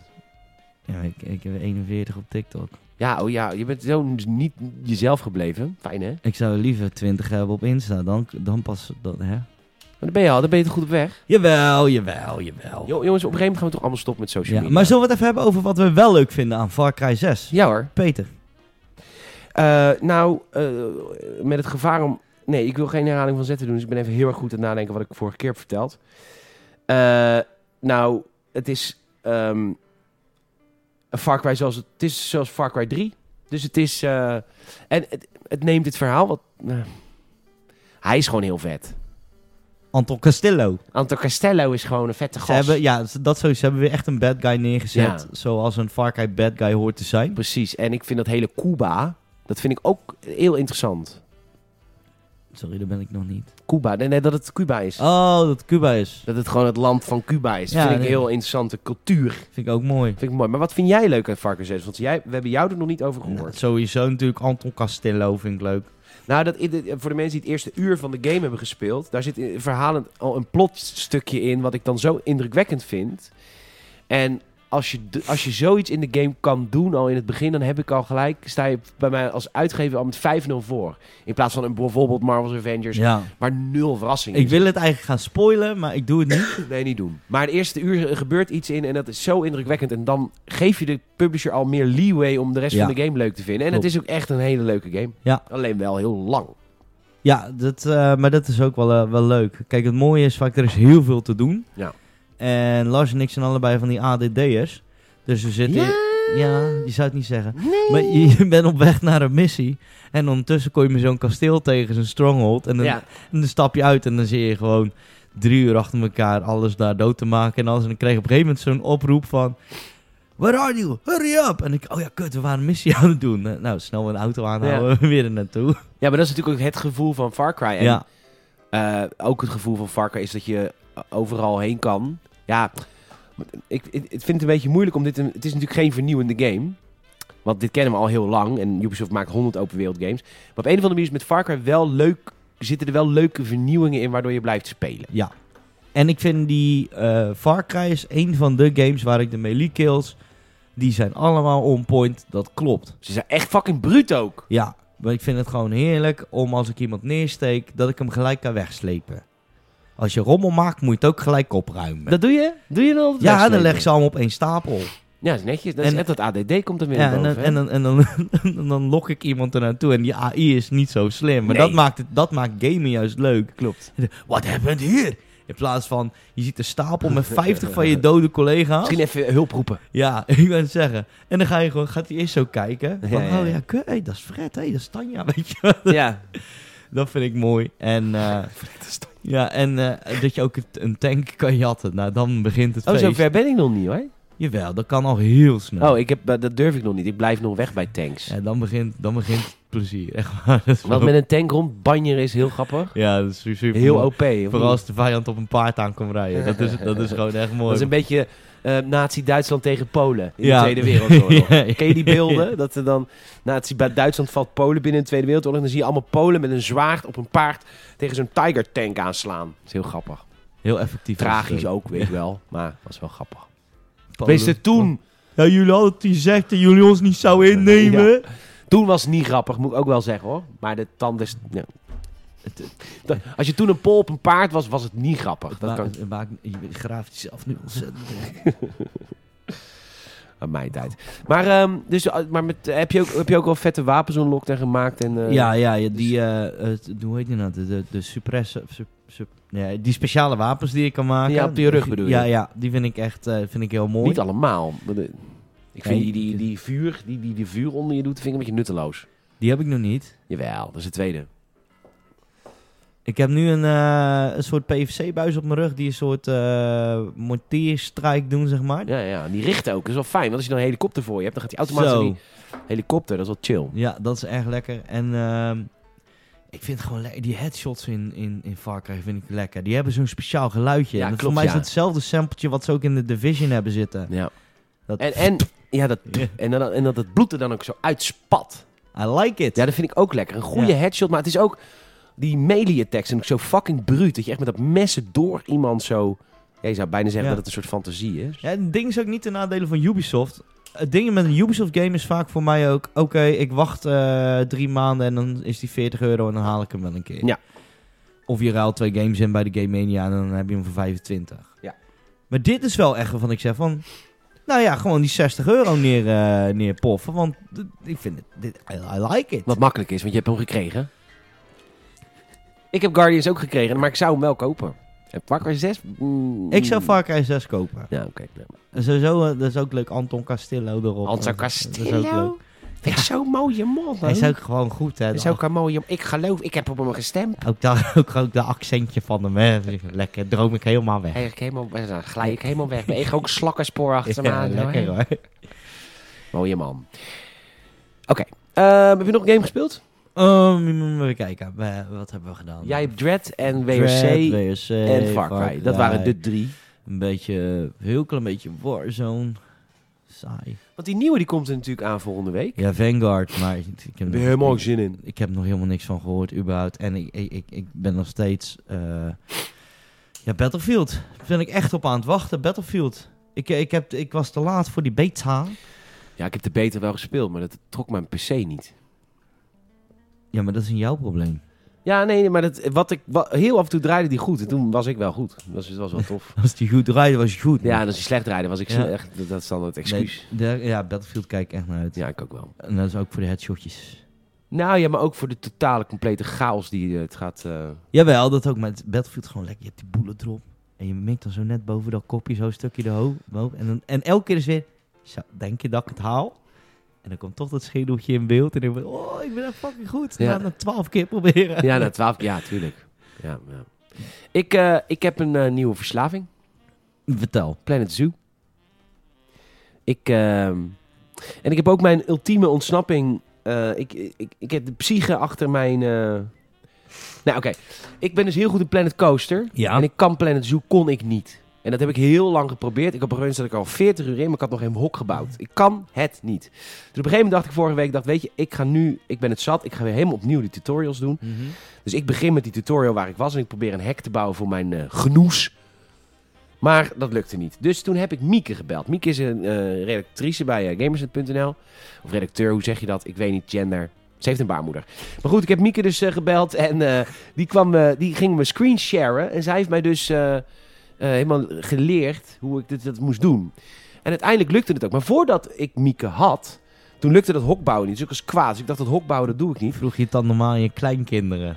Ja, ik, ik heb 41 op TikTok. Ja, oh ja, je bent zo niet jezelf gebleven. Fijn hè? Maar Ik zou liever 20 hebben op Insta. Dan, dan pas... Dan, hè? dan ben je al, dan ben je toch goed op weg. Jawel, jawel, jawel. Jo- jongens, op een gegeven moment gaan we toch allemaal stoppen met social Oh. Ja, media. maar zullen we het even hebben over wat we wel leuk vinden aan Far Cry 6? Ja hoor. Peter. Eh, nou, eh, met het gevaar om... Nee, ik wil geen herhaling van zetten doen, dus ik ben even heel erg goed aan het nadenken wat ik vorige keer heb verteld. Eh, nou, het is ehm, een Far Cry zoals het, het is zoals Far Cry 3. Dus het is... eh, en het, het neemt het verhaal wat... nou, hij is gewoon heel vet. Anton Castillo. Anton Castello is gewoon een vette Ze gast. hebben, ja, dat sowieso. Ze hebben weer echt een bad guy neergezet. Ja. Zoals een Far Cry bad guy hoort te zijn. Precies. En ik vind dat hele Cuba, dat vind ik ook heel interessant. Sorry, daar ben ik nog niet. Cuba, nee, nee, dat het Cuba is. Oh, dat Cuba is. Dat het gewoon het land van Cuba is. Dat Ja, vind ik nee. een heel interessante cultuur. Vind ik ook mooi. Vind ik mooi. Maar wat vind jij leuk aan Varkens 6? Want jij, we hebben jou er nog niet over gehoord. Nou, Nou, sowieso natuurlijk Anton Castillo vind ik leuk. dat, voor de mensen die het eerste uur van de game hebben gespeeld... daar zit in- verhalend al een plotstukje in... wat ik dan zo indrukwekkend vind. En als je, d- als je zoiets in de game kan doen al in het begin... dan heb ik al gelijk... sta je bij mij als uitgever al met 5-0 voor. In plaats van een, bijvoorbeeld Marvel's Avengers... Ja. waar nul verrassing Ik is. wil het eigenlijk gaan spoilen, maar ik doe het niet. Nee, niet doen. Maar het eerste uur eh, gebeurt iets in en dat is zo indrukwekkend. En dan geef je de publisher al meer leeway om de rest Ja. van de game leuk te vinden. En Klopt. het is ook echt een hele leuke game. Ja. Alleen wel heel lang. Ja, dat, eh, maar dat is ook wel, eh, wel leuk. Kijk, het mooie is vaak, er is heel veel te doen. Ja. En Lars en ik zijn allebei van die ADD'ers. Dus we zitten... Ja. ja, je zou het niet zeggen. Nee. Maar je, je bent op weg naar een missie. En ondertussen kom je met zo'n kasteel tegen, zo'n stronghold. En dan, Ja. en dan stap je uit en dan zie je gewoon drie uur achter elkaar alles daar dood te maken. En, alles. en dan kreeg ik op een gegeven moment zo'n oproep van... Where are you? Hurry up! En ik, oh ja, kut, we waren een missie aan het doen. Eh, Nou, snel een auto aanhouden, weer er naartoe. ja, maar dat is natuurlijk ook het gevoel van Far Cry. En ja. eh, ook het gevoel van Far Cry is dat je overal heen kan. Ja, ik, ik, ik vind het een beetje moeilijk om dit... Een, het is natuurlijk geen vernieuwende game. Want dit kennen we al heel lang. En Ubisoft maakt 100 open wereld games. Maar op een of andere manier is met Far Cry wel leuk... Zitten er wel leuke vernieuwingen in waardoor je blijft spelen. Ja. En ik vind die eh Far Cry is een van de games waar ik de melee kills... Die zijn allemaal on point, dat klopt. Ze zijn echt fucking bruut ook. Ja, maar ik vind het gewoon heerlijk om als ik iemand neersteek... dat ik hem gelijk kan wegslepen. Als je rommel maakt, moet je het ook gelijk opruimen. doe je? Doe je dan altijd ja, dan wegslepen? leg ze allemaal op één stapel. Ja, dat is netjes. Dat is En- net dat ADD komt er weer Ja, naar en, boven. dan, en, hè? dan, en dan, en dan lok ik iemand ernaartoe. En die AI is niet zo slim. Maar Nee. dat, maakt het, dat maakt gamen juist leuk. Klopt. What happened here? In plaats van, je ziet een stapel met 50 van je dode collega's. Misschien even hulp roepen. Ja, ik ben het zeggen. En dan ga je gewoon, gaat hij eerst zo kijken. Ja, van, ja, oh ja. ja, kut, hey, dat is Fred, hey, dat is Tanja, weet je wel. ja. Dat vind ik mooi. En, eh, ja, en eh, dat je ook het- een tank kan jatten. Nou, dan begint het Oh, feest. zo ver ben ik nog niet hoor. Jawel, dat kan al heel snel. Oh, ik heb, eh, dat durf ik nog niet. Ik blijf nog weg bij tanks. Ja, dan begint, dan begint het plezier, echt waar. Dat is Want wel- met een tank rondbanjeren is heel grappig. Ja, dat is super Heel mooi. OP. of Vooral niet? als de vijand op een paard aan komt rijden. Dat is, dat is gewoon echt mooi. Dat is een beetje eh, Nazi-Duitsland tegen Polen in Ja. de Tweede Wereldoorlog. Ja, ja. Ken je die beelden? Dat er dan Nazi-Duitsland valt Polen binnen de Tweede Wereldoorlog. En dan zie je allemaal Polen met een zwaard op een paard tegen zo'n Tiger-tank aanslaan. Dat is heel grappig. Heel effectief. Tragisch ook, weet ik wel. Maar was wel grappig. eh, Polen. Wist het toen? Ja, jullie hadden het gezegd dat jullie ons niet zouden innemen. Toen was het niet grappig, moet ik ook wel zeggen hoor. Maar de tand is... ja. Dat- Als je toen een pol op een paard was, was het niet grappig. Dat Maar- kan het maakt- je graaft jezelf nu ontzettend. weg. aan mijn tijd. Maar, ehm, dus, eh, maar met, heb, je ook, heb je ook wel vette wapens unlocked en gemaakt? En, eh, ja, ja, ja, die, eh, het- hoe heet die nou? De, de, de suppress- sup- sup- ja, die speciale wapens die je kan maken. Ja, op je rug bedoel je? Ja, ja, die vind ik echt eh, vind ik heel mooi. Niet allemaal. Maar de- ik vind Nee, die, die, die vuur, die, die, die vuur onder je doet, vind ik een beetje nutteloos. Die heb ik nog niet. Jawel, dat is de tweede. Ik heb nu een, eh, een soort PVC-buis op mijn rug die een soort eh monteerstrijk doen, zeg maar. Ja, ja, en die richten ook. Dat is wel fijn, want als je dan een helikopter voor je hebt, dan gaat die automatisch Zo. in die helikopter. Dat is wel chill. Ja, dat is erg lekker. En ehm, ik vind gewoon le- die headshots in, in, in Far Cry vind ik lekker. Die hebben zo'n speciaal geluidje. Ja, en dat- klopt, voor mij ja. is dat hetzelfde sampletje wat ze ook in de Division hebben zitten. Ja. Dat- En, en, ja, dat, Ja. en, dan, en dat het bloed er dan ook zo uitspat. I like it. Ja, dat vind ik ook lekker. Een goede Ja. headshot, maar het is ook... Die melee-attacks zijn ook zo fucking bruut. Dat je echt met dat messen door iemand zo... Ja, je zou bijna zeggen Ja. dat het een soort fantasie is. Ja, het ding is ook niet te nadelen van Ubisoft. Het ding met een Ubisoft game is vaak voor mij ook... Oké, ik wacht eh, drie maanden en dan is die 40 euro en dan haal ik hem wel een keer. Ja. Of je ruilt twee games in bij de Game Mania en dan heb je hem voor 25. Ja. Maar dit is wel echt waarvan ik zeg van... Nou ja, gewoon die 60 euro neer, eh, neerpoffen. Want d- ik vind het... Dit, I, I like it. Wat makkelijk is, want je hebt hem gekregen. Ik heb Guardians ook gekregen, maar ik zou hem wel kopen. En Far Cry 6? Mm. Ik zou Far Cry 6 kopen. Ja, oké. nou. Ja. En sowieso, eh, dat is ook leuk. Anton Castillo erop. Anton Dat is ook Castillo? leuk. Vind ik zo'n mooie man. Hij man. is ook gewoon goed, hè. Dat is ook een mooie... Ik geloof, ik heb op hem gestemd. Ook daar ook, ook de accentje van hem, hè. Lekker, droom ik helemaal weg. Eigenlijk helemaal, eh, dan glij ik helemaal weg. Mijn ego ook slakkenspoor achter me aan. hoor. lekker hoor. Mooie man. Oké. ehm, heb je nog een game gespeeld? Ehm, even kijken, we- wat hebben we gedaan? Jij hebt Dread en WRC Dread, WRC, en Far Cry. Dat waren de drie. Een beetje, heel klein beetje Warzone. Saai. Want die nieuwe die komt er natuurlijk aan volgende week. Ja, Vanguard, maar ik ik heb, Daar nog, heb ik helemaal ik, zin in. ik heb nog helemaal niks van gehoord, überhaupt. En ik, ik, ik, ik ben nog steeds... eh, ja, Battlefield. Daar ben ik echt op aan het wachten, Battlefield. Ik, ik, heb, ik was te laat voor die beta. Ja, ik heb de beter wel gespeeld, maar dat trok mijn PC niet. Ja, maar dat is een jouw probleem. Ja, nee, nee, maar dat, wat ik, wa- heel af en toe draaide die goed. En toen was ik wel goed. Dat was, dat was wel tof. Als die goed draaide, was je goed. ja, en als die slecht draaide, was ik Ja. zo echt... Dat, dat is dan het excuus. Nee, daar- ja, Battlefield kijk ik echt naar uit. Ja, ik ook wel. En dat is ook voor de headshotjes. Nou ja, maar ook voor de totale, complete chaos die eh, het gaat... eh, Jawel, dat ook, maar het Battlefield gewoon lekker. Je hebt die bullet drop. En je mikt dan zo net boven dat kopje, zo'n stukje de ho- omhoog. En, dan, en elke keer is weer, zo, denk je dat ik het haal? En dan komt toch dat schedeltje in beeld. En dan denk ik, oh, ik ben echt fucking goed. Ja. Ja. Na twaalf keer proberen. Ja, na twaalf... Ja, tuurlijk. Ja, ja. Ik, eh, ik heb een eh, nieuwe verslaving. Vertel. Planet Zoo. Ik, ehm, en ik heb ook mijn ultieme ontsnapping. eh, ik, ik, ik heb de psyche achter mijn. eh, Nou, oké. Ik ben dus heel goed in Planet Coaster. Ja. En ik kan Planet Zoo, kon ik niet. En dat heb ik heel lang geprobeerd. Ik op een gegeven moment zat ik er al 40 uur in, maar ik had nog geen hok gebouwd. Ik kan het niet. Dus op een gegeven moment dacht ik vorige week, dacht, weet je, ik ga nu, ik ben het zat. Ik ga weer helemaal opnieuw die tutorials doen. Mhm. Dus ik begin met die tutorial waar ik was en ik probeer een hek te bouwen voor mijn eh, genoes. Maar dat lukte niet. Dus toen heb ik Mieke gebeld. Mieke is een eh, redactrice bij eh, Gamersnet.nl. Of redacteur, hoe zeg je dat? Ik weet niet, gender. Ze heeft een baarmoeder. Maar goed, ik heb Mieke dus eh, gebeld en eh, die, kwam, eh, die ging me screensharen. En zij heeft mij dus eh, eh, helemaal geleerd hoe ik dit, dat moest doen. En uiteindelijk lukte het ook. Maar voordat ik Mieke had, toen lukte dat hokbouwen niet. Dus ik was kwaad. Dus ik dacht, dat hokbouwen, dat doe ik niet. Vroeg je het dan normaal aan je kleinkinderen.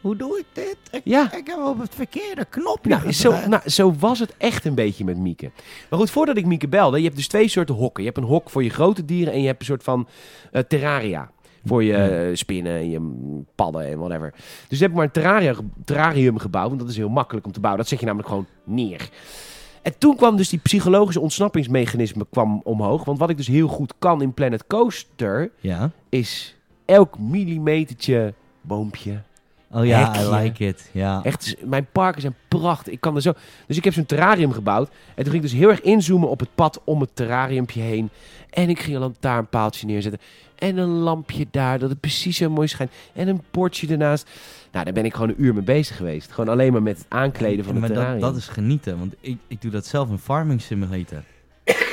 Hoe doe ik dit? Ik, Ja. ik heb op het verkeerde knopje Nou, zo, gedrukt. nou, zo was het echt een beetje met Mieke. Maar goed, voordat ik Mieke belde, je hebt dus twee soorten hokken. Je hebt een hok voor je grote dieren en je hebt een soort van eh, terraria. Voor je eh, spinnen en je mm, padden en whatever. Dus heb ik maar een terraria, terrarium gebouwd, want dat is heel makkelijk om te bouwen. Dat zet je namelijk gewoon neer. En toen kwam dus die psychologische ontsnappingsmechanisme kwam omhoog. Want wat ik dus heel goed kan in Planet Coaster, Ja. is elk millimetertje boompje, Oh ja, Hekje. I like it. Ja. Echt, mijn parken zijn prachtig. Ik kan er zo... Dus ik heb zo'n terrarium gebouwd. En toen ging ik dus heel erg inzoomen op het pad om het terrariumpje heen. En ik ging een lantaarnpaaltje neerzetten. En een lampje daar, dat het precies zo mooi schijnt. En een bordje ernaast. Nou, daar ben ik gewoon een uur mee bezig geweest. Gewoon alleen maar met het aankleden van Ja, het maar terrarium. Dat, dat is genieten, want ik, ik doe dat zelf in Farming Simulator.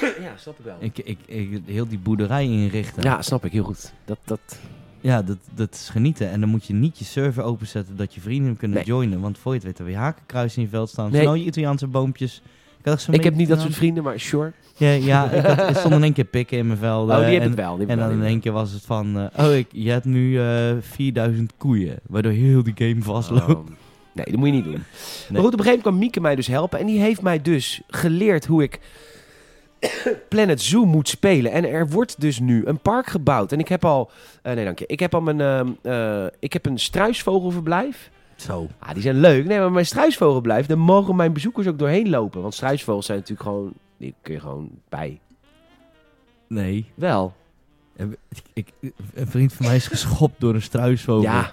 Ja, snap ik wel. Ik, ik, ik, heel die boerderij inrichten. Ja, snap ik heel goed. Dat, dat... Ja, dat, dat is genieten. En dan moet je niet je server openzetten dat je vrienden hem kunnen Nee. joinen. Want voor je het weet er weer hakenkruis in je veld staan. Nee. Nee. je Italiaanse boompjes. Ik, had echt zo'n Ik heb beetje niet dat soort gedaan. vrienden, maar sure. Ja, ja ik, had, er stonden in één keer pikken in mijn velden. Oh, die heb eh, en, ik wel. Die heb En ik dan wel, in die heb één keer was het van... eh, oh, ik, je hebt nu eh, 4000 koeien. Waardoor heel die game ik wel. vastloopt. Oh, Nee, dat moet je niet doen. Maar goed, op een gegeven moment kwam Mieke mij dus helpen. En die heeft mij dus geleerd hoe ik Planet Zoo moet spelen. En er wordt dus nu een park gebouwd. En ik heb al... eh, nee, dank je. Ik heb al mijn... ehm, eh, ik heb een struisvogelverblijf. Zo. Ah, die zijn leuk. Nee, maar mijn struisvogelverblijf... Daar mogen mijn bezoekers ook doorheen lopen. Want struisvogels zijn natuurlijk gewoon... Die kun je gewoon bij. Nee. Wel. Ik, een vriend van mij is geschopt door een struisvogel. Ja.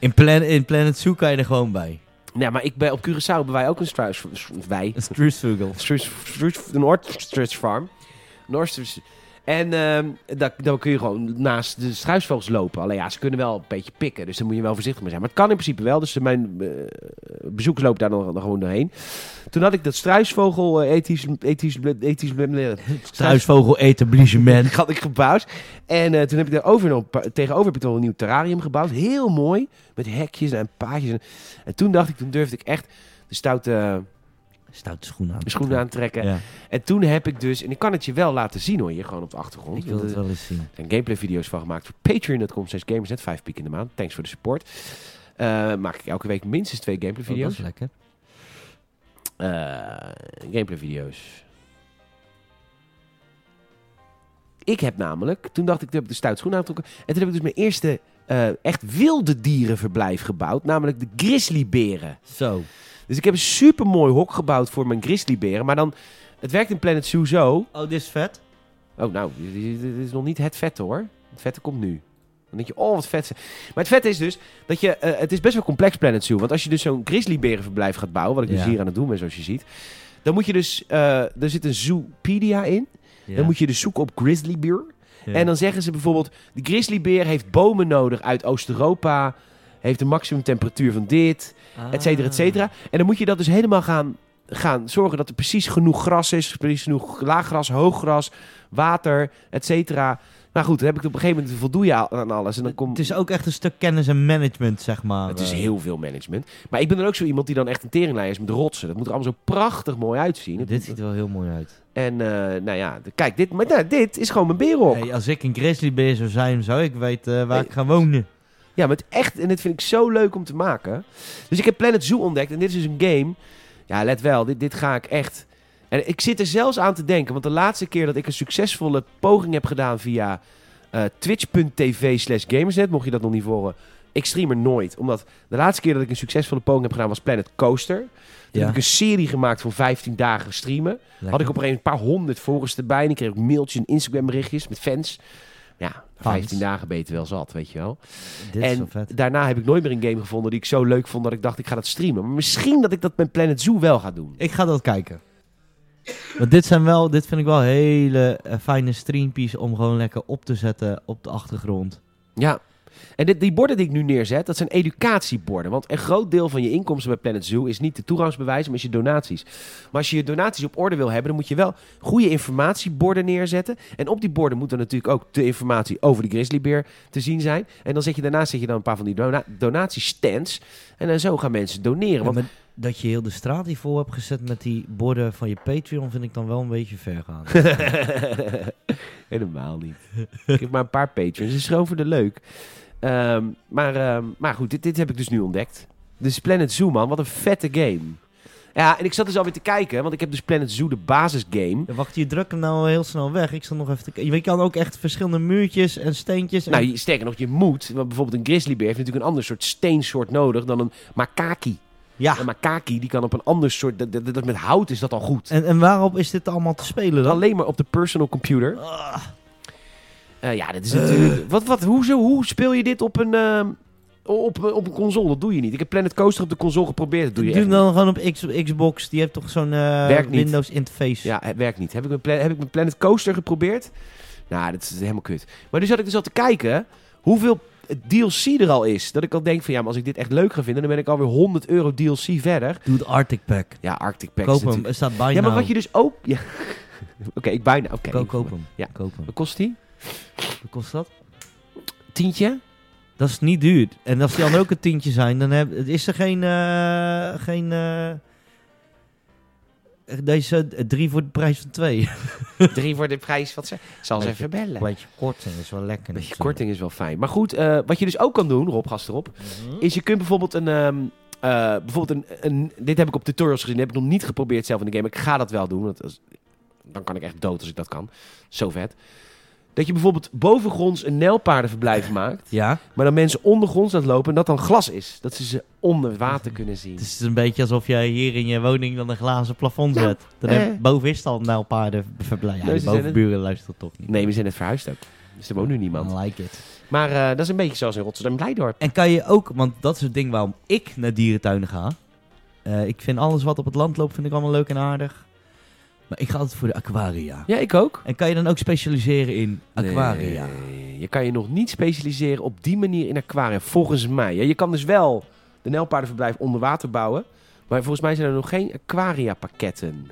In, plan, in Planet Zoo kan je er gewoon bij. Nee, maar ik ben, op Curaçao hebben wij ook een struis... Wij. Een struisvogel. Struis- Struis- de Noordstrus Farm. Noordstrus. En ehm daar, daar kun je gewoon naast de struisvogels lopen. Alleen ja, ze kunnen wel een beetje pikken. Dus daar moet je wel voorzichtig mee zijn. Maar het kan in principe wel. Dus mijn eh, bezoekers lopen daar dan, dan gewoon doorheen. Toen had ik dat struisvogel eh, ethisch... ethisch, ethisch, Struisvogel etablissement. had ik gebouwd. En eh, toen heb ik daarover nog een paar- tegenover heb ik toch een nieuw terrarium gebouwd. Heel mooi. Met hekjes en paadjes. En, en toen dacht ik, toen durfde ik echt de stoute eh, Stoute schoenen aan. schoenen aantrekken. Ja, En toen heb ik dus, en ik kan het je wel laten zien hoor, hier gewoon op de achtergrond. ik wil Want het er wel eens zien. Oh, zijn gameplay video's van gemaakt voor patreon.com slash gamersnet, vijf piek in de maand. Thanks voor de support. Eh, maak ik elke week minstens twee gameplay Oh, dat is video's. lekker. Eh, gameplay video's. Ik heb namelijk, toen dacht ik, toen heb ik de stout schoen aangetrokken. En toen heb ik dus mijn eerste eh, echt wilde dierenverblijf gebouwd. Namelijk de grizzlyberen. Zo. Dus ik heb een supermooi hok gebouwd voor mijn grizzlyberen. Maar dan, het werkt in Planet Zoo zo. Oh, dit is vet. Oh, nou, dit is- dit is nog niet het vette hoor. Het vette komt nu. Dan denk je, oh, wat vet. Maar het vette is dus dat je... eh, het is best wel complex Planet Zoo. Want als je dus zo'n grizzlyberenverblijf gaat bouwen... wat ik dus Ja. hier aan het doen ben, zoals je ziet... dan moet je dus... eh, er zit een zoopedia in. Dan moet je dus zoeken op grizzlybeer. En dan zeggen ze bijvoorbeeld... de grizzlybeer heeft bomen nodig uit Oost-Europa... heeft een maximum temperatuur van dit Ah. et cetera, et cetera. En dan moet je dat dus helemaal gaan, gaan zorgen dat er precies genoeg gras is, precies genoeg laag gras, hoog gras, water, et cetera. Maar goed, dan heb ik het op een gegeven moment voldoe je al- aan alles en dan komt Het is ook echt een stuk kennis en management, zeg maar. het is Eh, heel veel management. Maar ik ben dan ook zo iemand die dan echt een teringlijn is met rotsen. Dat moet er allemaal zo prachtig mooi uitzien. Eh, Dit ziet er wel heel mooi uit. En eh, nou ja, de- kijk, dit, maar, nou, dit is gewoon mijn berenhok. Hey, als ik een grizzlybeer zou zijn, zou ik weten eh, waar Hey. ik ga wonen. Ja, maar het echt, en dit vind ik zo leuk om te maken. Dus ik heb Planet Zoo ontdekt en dit is dus een game. Ja, let wel, dit, dit ga ik echt. En ik zit er zelfs aan te denken, want de laatste keer dat ik een succesvolle poging heb gedaan via eh, twitch.tv slash gamersnet, mocht je dat nog niet horen, ik stream er nooit. Omdat de laatste keer dat ik een succesvolle poging heb gedaan was Planet Coaster. Toen heb ik een serie gemaakt van 15 dagen streamen. Had ik op een gegeven moment een paar honderd volgers erbij. En ik kreeg ook mailtjes en Instagram berichtjes met fans. Ja, na 15 dagen beter wel zat, weet je wel. Dit is En wel vet. daarna heb ik nooit meer een game gevonden die ik zo leuk vond dat ik dacht ik ga dat streamen. Maar misschien dat ik dat met Planet Zoo wel ga doen. Ik ga dat kijken. Want dit zijn wel, dit vind ik wel hele eh, fijne streampjes om gewoon lekker op te zetten op de achtergrond. Ja. En dit, die borden die ik nu neerzet, dat zijn educatieborden. Want een groot deel van je inkomsten bij Planet Zoo is niet de toegangsbewijs, maar is je donaties. Maar als je je donaties op orde wil hebben, dan moet je wel goede informatieborden neerzetten. En op die borden moet dan natuurlijk ook de informatie over de grizzlybeer te zien zijn. En dan zet je daarnaast zet je dan een paar van die dona donatiestands. En eh, zo gaan mensen doneren. Want Ja, maar dat je heel de straat hiervoor hebt gezet met die borden van je Patreon vind ik dan wel een beetje ver gaan. Helemaal niet. ik heb maar een paar patrons. Het is gewoon voor de leuk. Ehm, maar, ehm, maar goed, dit, dit heb ik dus nu ontdekt. Dus Planet Zoo, man. Wat een vette game. Ja, en ik zat dus alweer te kijken. Want ik heb dus Planet Zoo, de basisgame. Ja, wacht, je drukt hem nou heel snel weg. Ik zal nog even te kijken. Je kan ook echt verschillende muurtjes en steentjes. En... Nou, je- sterker nog, je moet... Want bijvoorbeeld een grizzlybeer heeft natuurlijk een ander soort steensoort nodig... dan een makaki. ja. Een makaki, die kan op een ander soort... Dat, dat, dat- met hout is dat al goed. En, en waarop is dit allemaal te spelen dan? Alleen maar op de personal computer. Ah, Eh, ja, dit is natuurlijk. Wat, wat, hoezo, hoe speel je dit op een, ehm, op, op een console? Dat doe je niet. Ik heb Planet Coaster op de console geprobeerd. Dat doe je Doe hem echt dan gewoon op X- Xbox. Die heeft toch zo'n eh, Werkt niet. Windows interface. niet. Ja, het werkt niet. Heb ik, mijn Pla- heb ik mijn Planet Coaster geprobeerd? Nou, dat is helemaal kut. Maar nu zat ik dus al te kijken hoeveel DLC er al is. Dat ik al denk van ja, maar als ik dit echt leuk ga vinden, dan ben ik alweer 100 euro DLC verder. Doe het Arctic Pack. Ja, Arctic Pack Koop is hem. natuurlijk... Er staat bijna. Ja, maar wat je dus ook... Ja. Oké, ik bijna... Oké. Ko- koop hem. Ja. Koop hem. Wat kost die? Wat kost dat? Tientje? Dat is niet duur. En als die dan ook een tientje zijn, dan heb, is er geen... eh, geen eh, deze eh, drie voor de prijs van twee. Drie voor de prijs. Wat ze... Ik zal ze even bellen. beetje korting is wel lekker. Een beetje korting is wel fijn. Maar goed, eh, wat je dus ook kan doen, Rob, gast erop, is je kunt bijvoorbeeld een... ehm, eh, bijvoorbeeld een, een... Dit heb ik op tutorials gezien, heb ik nog niet geprobeerd zelf in de game. maar Ik ga dat wel doen, want als- dan kan ik echt dood als ik dat kan. Zo vet. Dat je bijvoorbeeld bovengronds een nijlpaardenverblijf maakt, Ja, maar dan mensen ondergronds laat lopen en dat dan glas is. Dat ze ze onder water kunnen zien. het is een beetje alsof jij hier in je woning dan een glazen plafond Ja, zet. Dan eh. heb, boven is het al nou paarden verblijf. Ja, Nee, de ze zijn bovenburen luistert toch niet. Nee, we zijn net verhuisd ook. Dus er woont nu niemand. I like it. Maar eh, dat is een beetje zoals in Rotterdam-Blijdorp. En kan je ook, want dat is het ding waarom ik naar dierentuinen ga. Eh, ik vind alles wat op het land loopt, vind ik allemaal leuk en aardig. Maar ik ga altijd voor de aquaria. Ja, ik ook. En kan je dan ook specialiseren in aquaria? Nee, je kan je nog niet specialiseren op die manier in aquaria, volgens mij. Ja, je kan dus wel de nijlpaardenverblijf onder water bouwen. Maar volgens mij zijn er nog geen aquaria pakketten.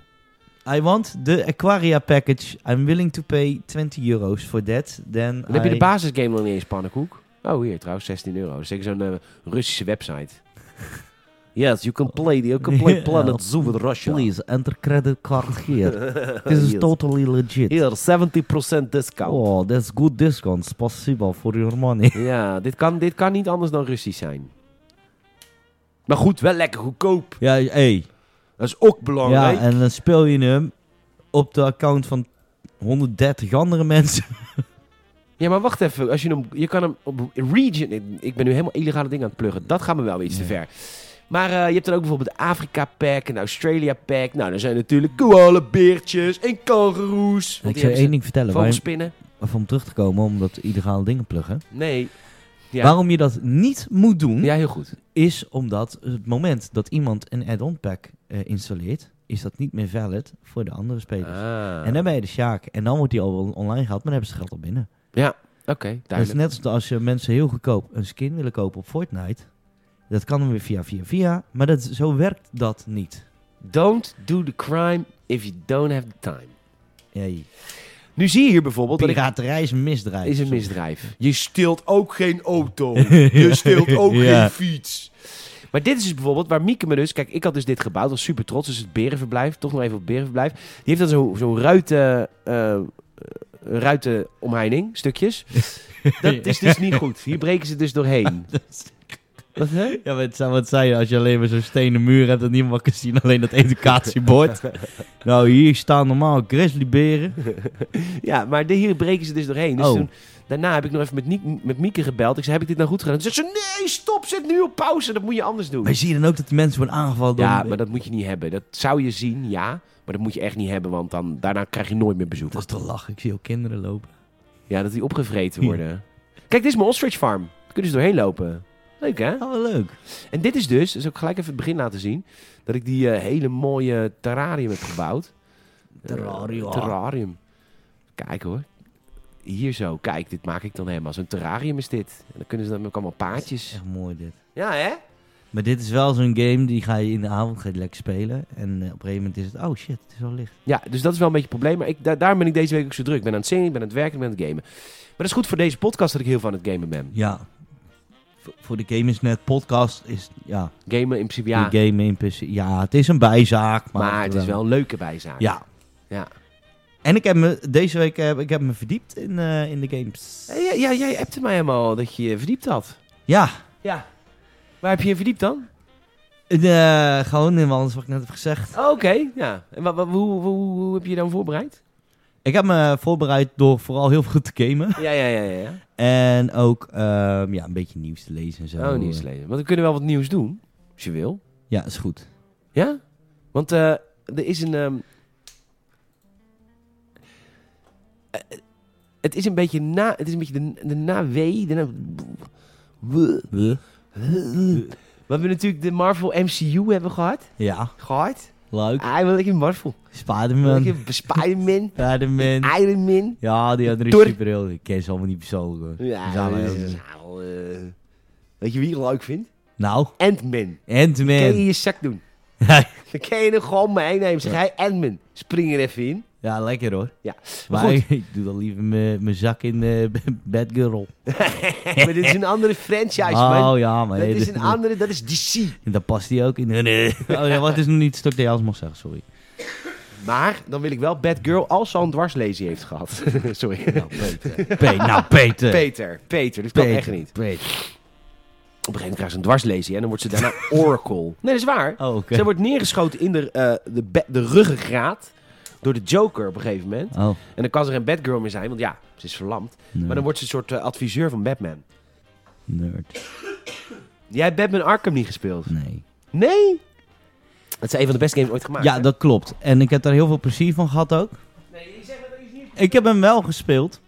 I want the aquaria package. I'm willing to pay 20 euros for that. Then Dan heb je de I- basisgame nog niet eens, pannenkoek. Oh, hier trouwens, 16 euro. Dat is zeker zo'n eh, Russische website. Yes, you can play, you can play Ja. Planet Zoo with Russia. Oh, Please, enter credit card here. This is Yes. totally legit. Here, 70% discount. Oh, that's good discount. Спасибо for your money. Ja, dit kan, dit kan niet anders dan Russisch zijn. Maar goed, wel lekker goedkoop. Ja, hey. Dat is ook Ja, belangrijk. en dan speel je hem op de account van 130 andere mensen. Ja, maar wacht even. Als je, hem, je kan hem op region... Ik, ik ben nu helemaal illegale dingen aan het pluggen. Dat gaat me wel iets te Ja. ver. Maar eh, je hebt dan ook bijvoorbeeld Afrika Pack en Australia Pack. Nou, dan zijn natuurlijk koalabeertjes en kangeroes. ik zou één ding vertellen. Waarom, Vogelspinnen? om terug te komen, omdat illegale dingen pluggen. Nee. Ja. Waarom je dat niet moet doen, Ja, heel goed. is omdat het moment dat iemand een add-on pack eh, installeert, is dat niet meer valid voor de andere spelers. Ah. En dan ben je de Sjaak. En dan wordt die al wel online gehaald, maar dan hebben ze het geld al binnen. Oké, Dat is duidelijk. net als als je mensen heel goedkoop een skin willen kopen op Fortnite. Dat kan dan weer via, via, via. Maar dat, zo werkt dat niet. Don't do the crime if you don't have the time. Hey, Nu zie je hier bijvoorbeeld... dat ik- piraterij is een misdrijf. is een misdrijf. Je steelt ook geen auto. Je steelt ook Ja. geen fiets. Maar dit is dus bijvoorbeeld waar Mieke me dus... Kijk, ik had dus dit gebouwd. was super trots. Dus het berenverblijf. Toch nog even op het berenverblijf. Die heeft dan zo- zo'n ruiten... eh, eh, ruitenomheining. Stukjes. Dat is dus niet goed. Hier breken ze dus doorheen. Wat, hè? Ja, maar het zou wat zijn als je alleen maar zo'n stenen muur hebt en niemand wat kan zien, alleen dat educatiebord. nou, hier staan normaal grizzlyberen. Ja, maar de, hier breken ze dus doorheen. Dus Oh. toen, daarna heb ik nog even met, Niek- met Mieke gebeld. Ik zei, heb ik dit nou goed gedaan? Toen zei ze, nee, stop, zet nu op pauze. Dat moet je anders doen. Maar zie je dan ook dat die mensen worden aangevallen door... Ja, maar dat moet je niet hebben. Dat zou je zien, ja. Maar dat moet je echt niet hebben, want dan, daarna krijg je nooit meer bezoek. Dat is toch lachen, ik zie ook kinderen lopen. Ja, dat die opgevreten worden. Kijk, dit is mijn ostrich farm. Daar kunnen ze doorheen lopen. Leuk, hè? Oh, wel leuk. En dit is dus, dat zal ik gelijk even het begin laten zien, dat ik die eh, hele mooie terrarium heb gebouwd. Eh, Terrarium. terrarium. Kijk hoor. Hier zo, kijk, dit maak ik dan helemaal. Zo'n terrarium is dit. En dan kunnen ze dan ook allemaal paadjes. Echt mooi dit. Ja, hè? Maar dit is wel zo'n game, die ga je in de avond ga je lekker spelen. En eh, op een gegeven moment is het, oh shit, het is al licht. Ja, dus dat is wel een beetje het probleem. Maar ik, daar, daarom ben ik deze week ook zo druk. Ik ben aan het zingen, ik ben aan het werken, ik ben aan het gamen. Maar dat is goed voor deze podcast dat ik heel van het gamen ben. Ja. V- voor de Game is Net podcast is, ja, Gamen in principe, ja. de game in principe, ja, het is een bijzaak. Maar, maar het is wel een leuke bijzaak. Ja. Ja. En ik heb me, deze week heb, ik heb me verdiept in, eh, in de games. Ja, ja, ja, jij appte mij helemaal dat je je verdiept had. Ja, Ja. Waar heb je je verdiept dan? eh, gewoon in alles wat ik net heb gezegd. Oh, Oké, ja. En wa- wa- hoe, hoe, hoe heb je je dan voorbereid? Ik heb me voorbereid door vooral heel veel goed te gamen. Ja, ja, ja. ja. En ook ehm, ja, een beetje nieuws te lezen en zo. Oh, nieuws lezen. Want we kunnen wel wat nieuws doen, als je wil. Ja, is goed. Ja? Want eh, er is een... ehm, eh, het is een beetje na... Het is een beetje de, de nawee. De na... Wat we natuurlijk de Marvel MCU hebben gehad. Ja, Gehad. leuk. Hij wil lekker Marvel. Spider-Man. Lekker Spider-Man. Spider-Man. Iron Man. Ja, die andere Ah. Thor. superheld. Ik ken ze allemaal niet persoonlijk hoor. Ja, Zou dat hij is- ook nou, eh, Weet je wie ik leuk vind? Nou, Ant-Man. Kan je Ant-Man. je zak doen. Dan kan je er gewoon mee nemen. Zeg hij, Ant-Man, spring er even in. ja, lekker hoor. Ja, maar Maar, goed. ik doe dan liever mijn mijn zak in eh Batgirl op. maar dit is een andere franchise, man. Oh ja, maar Dat nee, is dat- een andere, dat is DC. En daar past hij ook in. Nee, nee. Oh ja, wat is nog niet het stuk dat je als mag zeggen, sorry. Maar dan wil ik wel Batgirl als ze al een dwarslezing heeft gehad. Sorry. Nou, Peter. Pe- nou, Peter. Peter, Peter, dat kan Peter. nou, echt niet. Peter. Op een gegeven moment krijgt ze een dwarslezing en dan wordt ze daarna Oracle. Nee, dat is waar. Oh, oké. Zij wordt neergeschoten in de, eh, de, be- de ruggengraat door de Joker op een gegeven moment. Oh, En dan kan ze geen Batgirl meer zijn, want ja, ze is verlamd. nerd. Maar dan wordt ze een soort eh, adviseur van Batman. nerd. Jij hebt Batman Arkham niet gespeeld? Nee. Nee? Dat is een van de beste games ooit gemaakt. Ja, dat klopt. En ik heb daar heel veel plezier van gehad ook. Nee, je zegt dat is niet... Ik heb hem wel gespeeld.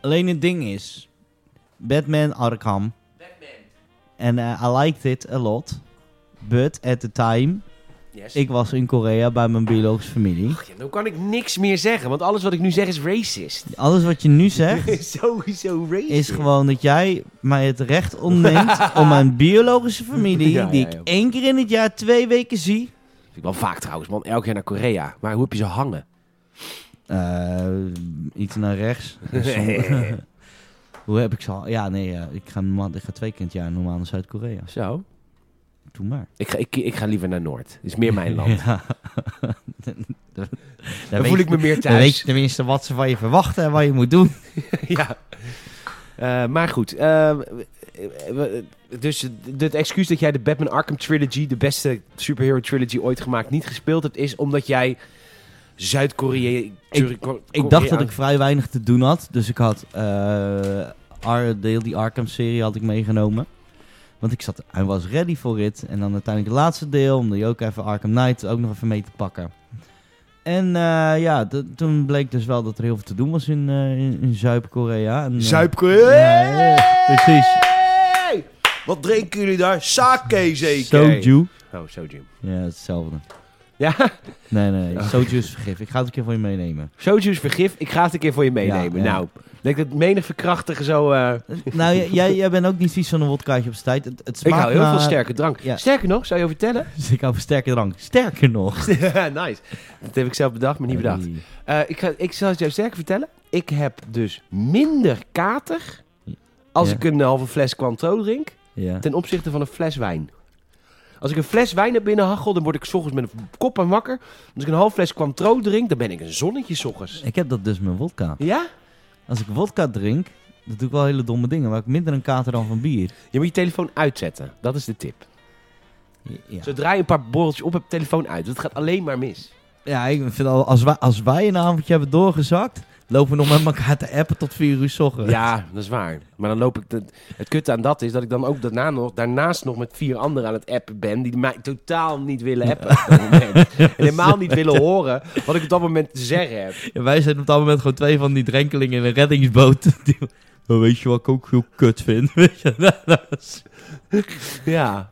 Alleen het ding is... Batman Arkham. En eh, I liked it a lot. But at the time... Yes. Ik was in Korea bij mijn biologische familie. Ach ja, nou kan ik niks meer zeggen, want alles wat ik nu zeg is racist. Alles wat je nu zegt... Sowieso racist. is gewoon dat jij mij het recht ontneemt om mijn biologische familie, Ja, ja, die ik ja. één keer in het jaar twee weken zie. Ik wel vaak trouwens, man. Elk jaar naar Korea. Maar hoe heb je ze hangen? Eh, iets naar rechts. Hoe heb ik ze al? Ja, nee, eh, ik, ga, normaal- ik ga twee keer in het jaar normaal naar Zuid-Korea. Zo. Doe maar. Ik ga, ik, ik ga liever naar Noord. Dat is meer mijn land. Ja. dan Dan weet voel je- ik me meer Dan weet thuis. je tenminste wat ze van je verwachten en wat je moet doen. ja. Eh, maar goed. eh, we- we- dus het excuus dat jij de Batman Arkham Trilogy, de beste superhero trilogy ooit gemaakt, niet gespeeld hebt, is omdat jij Zuid-Korea. Ik- Ik dacht dat ik vrij weinig te doen had. Dus ik had eh Ar- de heel die Arkham-serie had ik meegenomen. Want ik zat, I was ready for it. En dan uiteindelijk het laatste deel, om die ook even Arkham Knight ook nog even mee te pakken. En eh, ja, d- toen bleek dus wel dat er heel veel te doen was in, eh, in, in Zuid-Korea. En, eh, Zuid-Korea. Ja, ja, precies. Hey! Wat drinken jullie daar? Sake zeker. Soju. Oh, soju. Ja, hetzelfde. Ja, Nee, nee, Oh. soju is vergif. Ik ga het een keer voor je meenemen. soju is vergif. Ik ga het een keer voor je meenemen. Ja, ja. Nou, ik denk dat menig verkrachtigen zo... eh, nou, j- jij, jij bent ook niet vies van een wodkaatje op z'n tijd. Het, het ik smaakt hou heel naar- veel sterke drank. Ja. Sterker nog, zou je vertellen? Dus Ik hou van sterke drank. Sterker nog. nice. Dat heb ik zelf bedacht, maar niet bedacht. Hey. Eh, ik, ga, ik zal het jou sterker vertellen. Ik heb dus minder kater als Ja. ik een halve fles Cointreau drink Ja. ten opzichte van een fles wijn. Als ik een fles wijn naar binnen hachel, dan word ik 's ochtends met een kop aan wakker. Als ik een half fles Cointreau drink, dan ben ik een zonnetje 's ochtends. Ik heb dat dus met wodka. Ja? Als ik wodka drink, dan doe ik wel hele domme dingen. Maar ik heb minder een kater dan van bier. Je moet je telefoon uitzetten. Dat is de tip. Ja, Zodra je een paar borreltjes op hebt, telefoon uit. Dat gaat alleen maar mis. ja ik vind al, als wij, als wij een avondje hebben doorgezakt, lopen we nog met elkaar te appen tot vier uur 's ochtends. Ja, dat is waar. Maar dan loop ik... dat- het kutte aan dat is dat ik dan ook daarna nog, daarnaast nog met vier anderen aan het appen ben... die mij totaal niet willen appen. op dat moment. en helemaal niet willen horen wat ik op dat moment te zeggen heb. Ja, wij zijn op dat moment gewoon twee van die drenkelingen in een reddingsboot. Die- Maar weet je wat ik ook heel kut vind? Weet je, dat is- Ja.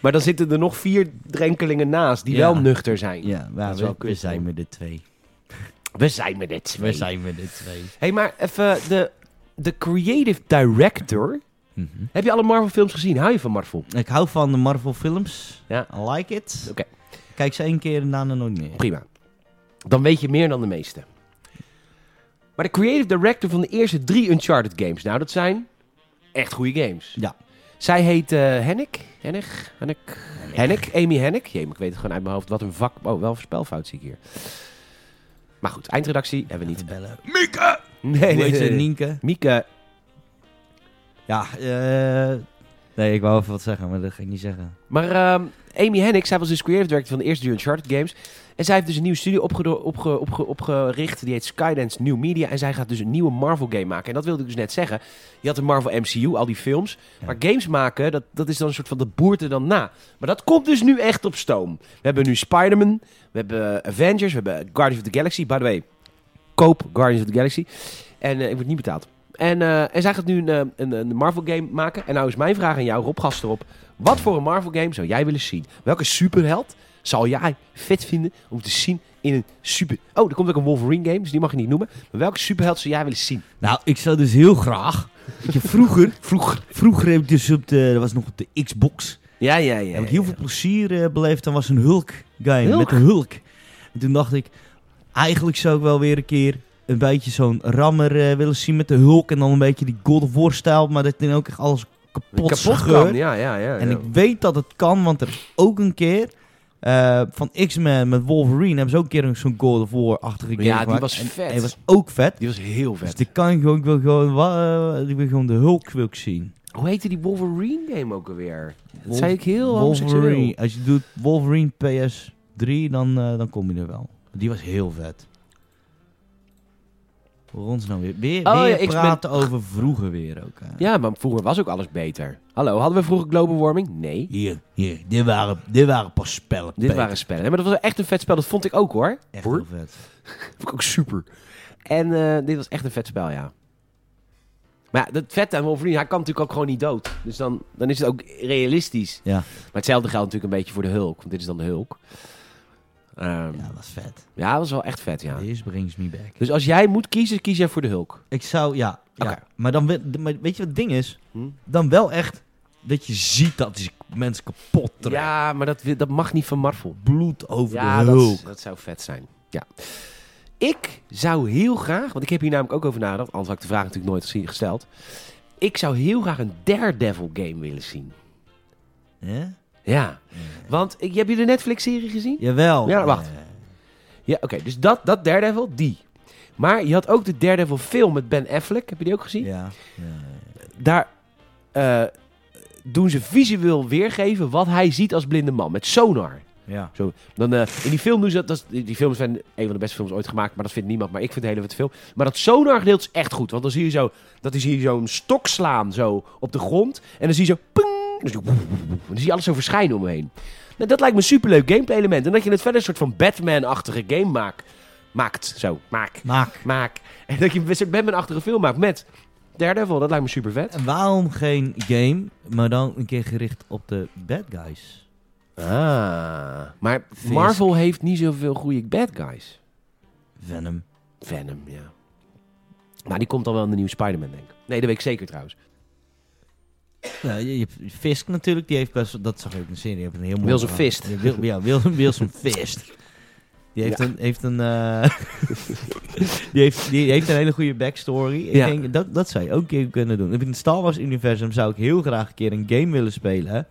Maar dan zitten er nog vier drenkelingen naast die Ja. wel nuchter zijn. ja, maar Dat is wel we, we kut, zijn hoor. met de twee. We zijn met dit twee. We zijn met de twee. hey, maar even de, de creative director. Mhm. Heb je alle Marvel films gezien? Hou je van Marvel? Ik hou van de Marvel films. Ja. I like it. Oké. Kijk ze één keer en daarna nooit meer. Prima. Dan weet je meer dan de meeste. Maar de creative director van de eerste drie Uncharted games. Nou, dat zijn echt goede games. Ja. Zij heet eh Hennik. Hennig? Hennik? Hennik. Amy Hennik. Jee, maar ik weet het gewoon uit mijn hoofd. Wat een vak. Oh, wel een spelfout zie ik hier. Maar goed, eindredactie hebben we niet. Even bellen. Nee, Hoe nee, heet nee, ze? nee. Nienke? Mieke. Ja, eh... Nee, ik wou even wat zeggen, maar dat ging ik niet zeggen. Maar ehm, Amy Hennig, zij was dus creative director van de eerste drie Uncharted games. En zij heeft dus een nieuwe studio opgedo- opge- opge- opgericht. Die heet Skydance New Media. En zij gaat dus een nieuwe Marvel game maken. En dat wilde ik dus net zeggen. Je had de Marvel MCU, al die films. Ja. Maar games maken, dat, dat is dan een soort van de boert er dan na. Maar dat komt dus nu echt op stoom. We hebben nu Spider-Man. We hebben Avengers. We hebben Guardians of the Galaxy. By the way, koop Guardians of the Galaxy. En eh, ik word niet betaald. En, eh, en zij gaat nu een, eh, een, een Marvel game maken. En nou is mijn vraag aan jou, Rob Gast erop. Wat voor een Marvel game zou jij willen zien? Welke superheld zal jij vet vinden om te zien in een super... Oh, er komt ook een Wolverine game, dus die mag je niet noemen. Maar welke superheld zou jij willen zien? Nou, ik zou dus heel graag... Weet je, vroeger... Vroeger. Vroeger heb ik dus op de... Dat was nog op de Xbox. Ja, ja, ja. heb ik heel veel plezier eh, beleefd. Dan was een Hulk-game Hulk? met de Hulk. En toen dacht ik... Eigenlijk zou ik wel weer een keer... Een beetje zo'n rammer eh, willen zien met de Hulk. En dan een beetje die God of War-stijl. Maar dat dan ook echt alles kapot, Kapot scheurt. kan, ja, ja, ja. En ja. ik weet dat het kan, want er is ook een keer eh, van X-Men met Wolverine hebben ze ook een keer een- zo'n God of War-achtige game Ja, die gemaakt. was En- vet. En die was ook vet. Die was heel Dus vet. die kan ik gewoon, ik wil gewoon, wa- eh, ik wil gewoon de Hulk wil ik zien. Hoe heette die Wolverine game ook alweer? Dat Wolf- zei ik heel Wolverine. homoseksueel. Als je doet Wolverine PS3, dan, eh, dan kom je er wel. Die was heel vet. Voor ons nou weer. Weer, Oh, weer ja, X-Men. praten over vroeger weer ook. hè. Ja, maar vroeger was ook alles beter. Hallo, hadden we vroeger global warming? Nee. Hier, hier. Dit waren, dit waren pas spellen. Dit Peter. waren spellen. Nee, maar dat was echt een vet spel. Dat vond ik ook hoor. echt Hoor. heel vet. Vond ik ook super. En eh, dit was echt een vet spel, ja. Maar ja, dat vet aan Wolverine, hij kan natuurlijk ook gewoon niet dood. Dus dan, dan is het ook realistisch. Ja. Maar hetzelfde geldt natuurlijk een beetje voor de Hulk. Want dit is dan de Hulk. Ehm, ja. Ja, dat was vet. dat was wel echt vet, ja. This brings me back. Dus als jij moet kiezen, kies jij voor de Hulk. Ik zou, ja. ja. Oké. Maar dan we- d- maar weet je wat het ding is? Hm? Dan wel echt dat je ziet dat die mensen kapot trekt. Ja, maar dat, dat mag niet van Marvel. Bloed over Ja, de hulk. dat, dat zou vet zijn. Ja. Ik zou heel graag, want ik heb hier namelijk ook over nagedacht, anders had ik de vraag natuurlijk nooit gezien- gesteld. Ik zou heel graag een Daredevil game willen zien. Ja? Ja, want ik, heb je de Netflix-serie gezien? Jawel. Ja, wacht. Eh, Ja, oké, dus dat, dat Daredevil, die. Maar je had ook de Daredevil-film met Ben Affleck, heb je die ook gezien? ja. ja. Daar eh, doen ze visueel weergeven wat hij ziet als blinde man, met sonar. Ja. Dan, eh, in die film doen ze dat, dat is- die- Die films zijn een van de beste films ooit gemaakt, maar dat vindt niemand. Maar ik vind het hele vette film. Maar dat sonargedeelte is echt goed. Want dan zie je zo, dat is hier zo'n stok slaan zo op de grond. En dan zie je zo, ping, dan zie je, en dan zie je alles zo verschijnen om me heen. Nou, dat lijkt me een superleuk gameplay element. En dat je het verder een soort van Batman-achtige game maakt. Maakt, zo, maak, Maak. maak. En dat je een soort Batman-achtige film maakt met Daredevil. Dat lijkt me super vet. En waarom geen game, maar dan een keer gericht op de bad guys? Ah. Maar Fisk. Marvel heeft niet zoveel goede bad guys. Venom. Venom, ja. Maar die komt dan wel in de nieuwe Spider-Man, denk ik. Nee, dat weet ik zeker trouwens. Ja, je, je hebt Fisk natuurlijk, die heeft best, dat zag je ook in de serie, die heeft een heel mooi Wilson verhaal. Fisk. Ja, Wil, ja, Wil- Wilson Fist. Die heeft Ja. een, heeft een, eh, die heeft, die heeft een hele goede backstory. Ik Ja. denk, dat, dat zou je ook een keer kunnen doen. In het Star Wars universum zou ik heel graag een keer een game willen spelen.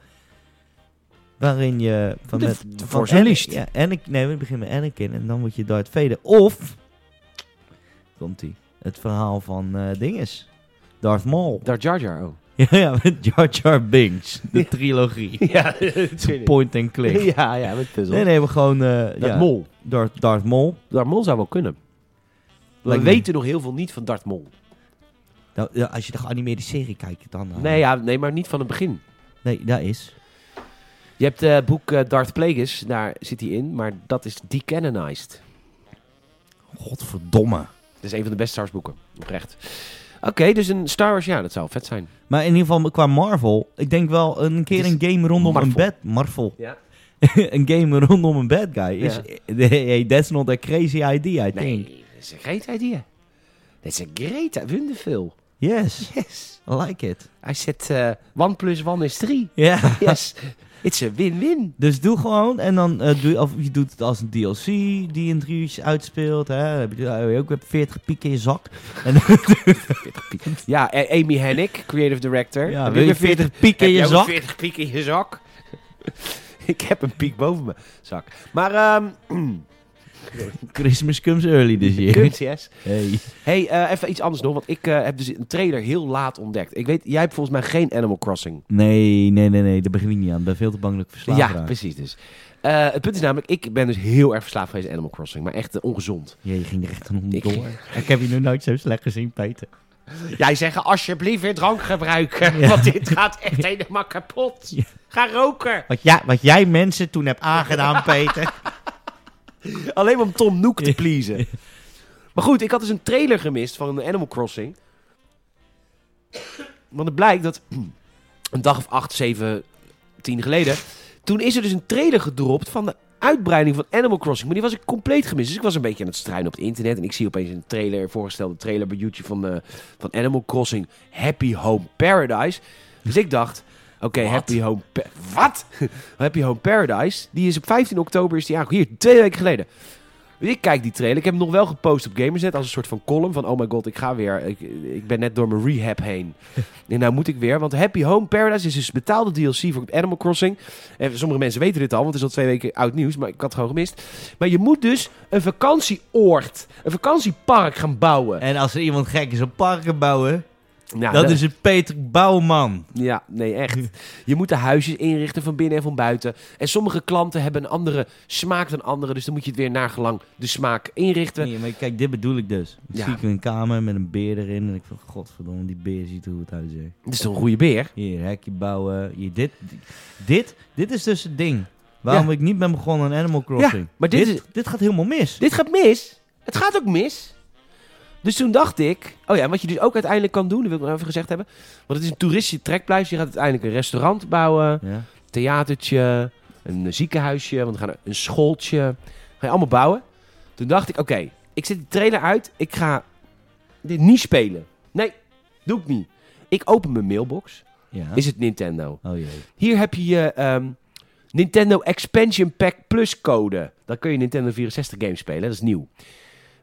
Waarin je van De- met, de van Force Ana- Unleashed. Ja, Anakin, nee, we beginnen met Anakin en dan word je Darth Vader. Of, komt ie, het verhaal van eh dinges. Darth Maul. Daar Jar Jar, oh. Ja, ja, met Jar Jar Binks. De trilogie. ja, Point and click. ja, ja, met puzzel. Nee, nee, we gewoon... eh Darth ja, Mol. Darth, Darth Maul. Darth Mol zou wel kunnen. We Lijkt me- weten nog heel veel niet van Darth Mol. Nou, ja, als je de geanimeerde serie kijkt, dan... eh, Nee, ja, nee, maar niet van het begin. Nee, dat is... Je hebt het boek eh, Darth Plagueis, daar zit hij in. Maar dat is decanonized. Godverdomme. Dat is een van de beste Star Wars boeken, oprecht. Oké, dus een Star Wars, ja, dat zou vet zijn. Maar in ieder geval, qua Marvel... Ik denk wel een keer Het een game rondom een Marvel. bad... Marvel. Ja. een game rondom een bad guy. Is, Ja. hey, that's not a crazy idea, I think. Nee, dat is een great idea. Dat is een great idea. Wonderful. Yes, Yes. I like it. Hij zet eh one plus one is three. Ja. Yes. It's a win-win. Dus doe gewoon en dan eh, doe je, of je doet het als een DLC die in drie uurtjes uitspeelt. Hè? Dan Heb je dan heb je ook weer 40 piek in je zak. En dan Ja, eh, Amy Hennig, creative director. ja, Heb wil je weer 40 piek heb in je jij ook zak. 40 piek in je zak? ik heb een piek boven mijn zak. Maar, ehm Christmas comes early this year. kunst, yes. Hey. hey, eh, even iets anders nog. Want ik eh, heb dus een trailer heel laat ontdekt. Ik weet, jij hebt volgens mij geen Animal Crossing. Nee, nee, nee, nee, daar begin ik niet aan. Ik ben veel te bang dat ik verslaafd ja, raak. precies dus. Eh, het punt is namelijk, ik ben dus heel erg verslaafd geweest aan Animal Crossing. Maar echt eh, ongezond. Ja, je ging er echt een Ik- hond door. Ik heb je nu nooit zo slecht gezien, Peter. Jij zeggen, alsjeblieft weer drank gebruiken. Ja. Want dit gaat echt helemaal kapot. Ja. Ga roken. Wat, ja, wat jij mensen toen hebt aangedaan, Peter. Alleen maar om Tom Nook te pleasen. Maar goed, ik had dus een trailer gemist van een Animal Crossing. Want het blijkt dat een dag of acht, zeven, tien geleden... Toen is er dus een trailer gedropt van de uitbreiding van Animal Crossing. Maar die was ik compleet gemist. Dus ik was een beetje aan het struinen op het internet. En ik zie opeens een trailer, een voorgestelde trailer bij YouTube van, eh, van Animal Crossing Happy Home Paradise. Dus ik dacht, oké, Wat? Happy Home... Pa- Wat? Happy Home Paradise, die is op 15 oktober is die aangekomen. Hier, twee weken geleden. Dus ik kijk die trailer. Ik heb hem nog wel gepost op Gamersnet als een soort van column van... Oh my god, ik ga weer. Ik, ik ben net door mijn rehab heen. en nou moet ik weer. Want Happy Home Paradise is dus betaalde DLC voor Animal Crossing. En sommige mensen weten dit al, want het is al twee weken oud nieuws. Maar ik had het gewoon gemist. Maar je moet dus een vakantieoord, een vakantiepark gaan bouwen. En als er iemand gek is op parken bouwen, Nou, dat is het Peter Bouwman. Ja, nee, echt. Je moet de huisjes inrichten van binnen en van buiten. En sommige klanten hebben een andere smaak dan anderen. Dus dan moet je het weer naar gelang de smaak inrichten. Nee, maar kijk, dit bedoel ik dus. Dan Ja. zie ik een kamer met een beer erin en ik van, godverdomme, die beer ziet er goed uit, zeg. Dat is toch een goede beer? Hier, hekje bouwen, hier, dit, dit, dit is dus het ding. Waarom ik niet ben begonnen aan Animal Crossing. maar dit dit, dit gaat helemaal mis. Dit gaat mis. Het gaat ook mis. Dus toen dacht ik... Oh ja, en wat je dus ook uiteindelijk kan doen... Dat wil ik nog even gezegd hebben. Want het is een toeristische trekpleister. Je gaat uiteindelijk een restaurant bouwen. Ja. theatertje, een eh, ziekenhuisje, want we gaan er- een schooltje. Ga je allemaal bouwen. Toen dacht ik, oké, ik zet die trailer uit. Ik ga dit niet spelen. Nee, doe ik niet. Ik open mijn mailbox. ja. Is het Nintendo? Oh jee. Hier heb je je ehm, Nintendo Expansion Pack Plus code. Dan kun je Nintendo 64 games spelen. Dat is nieuw.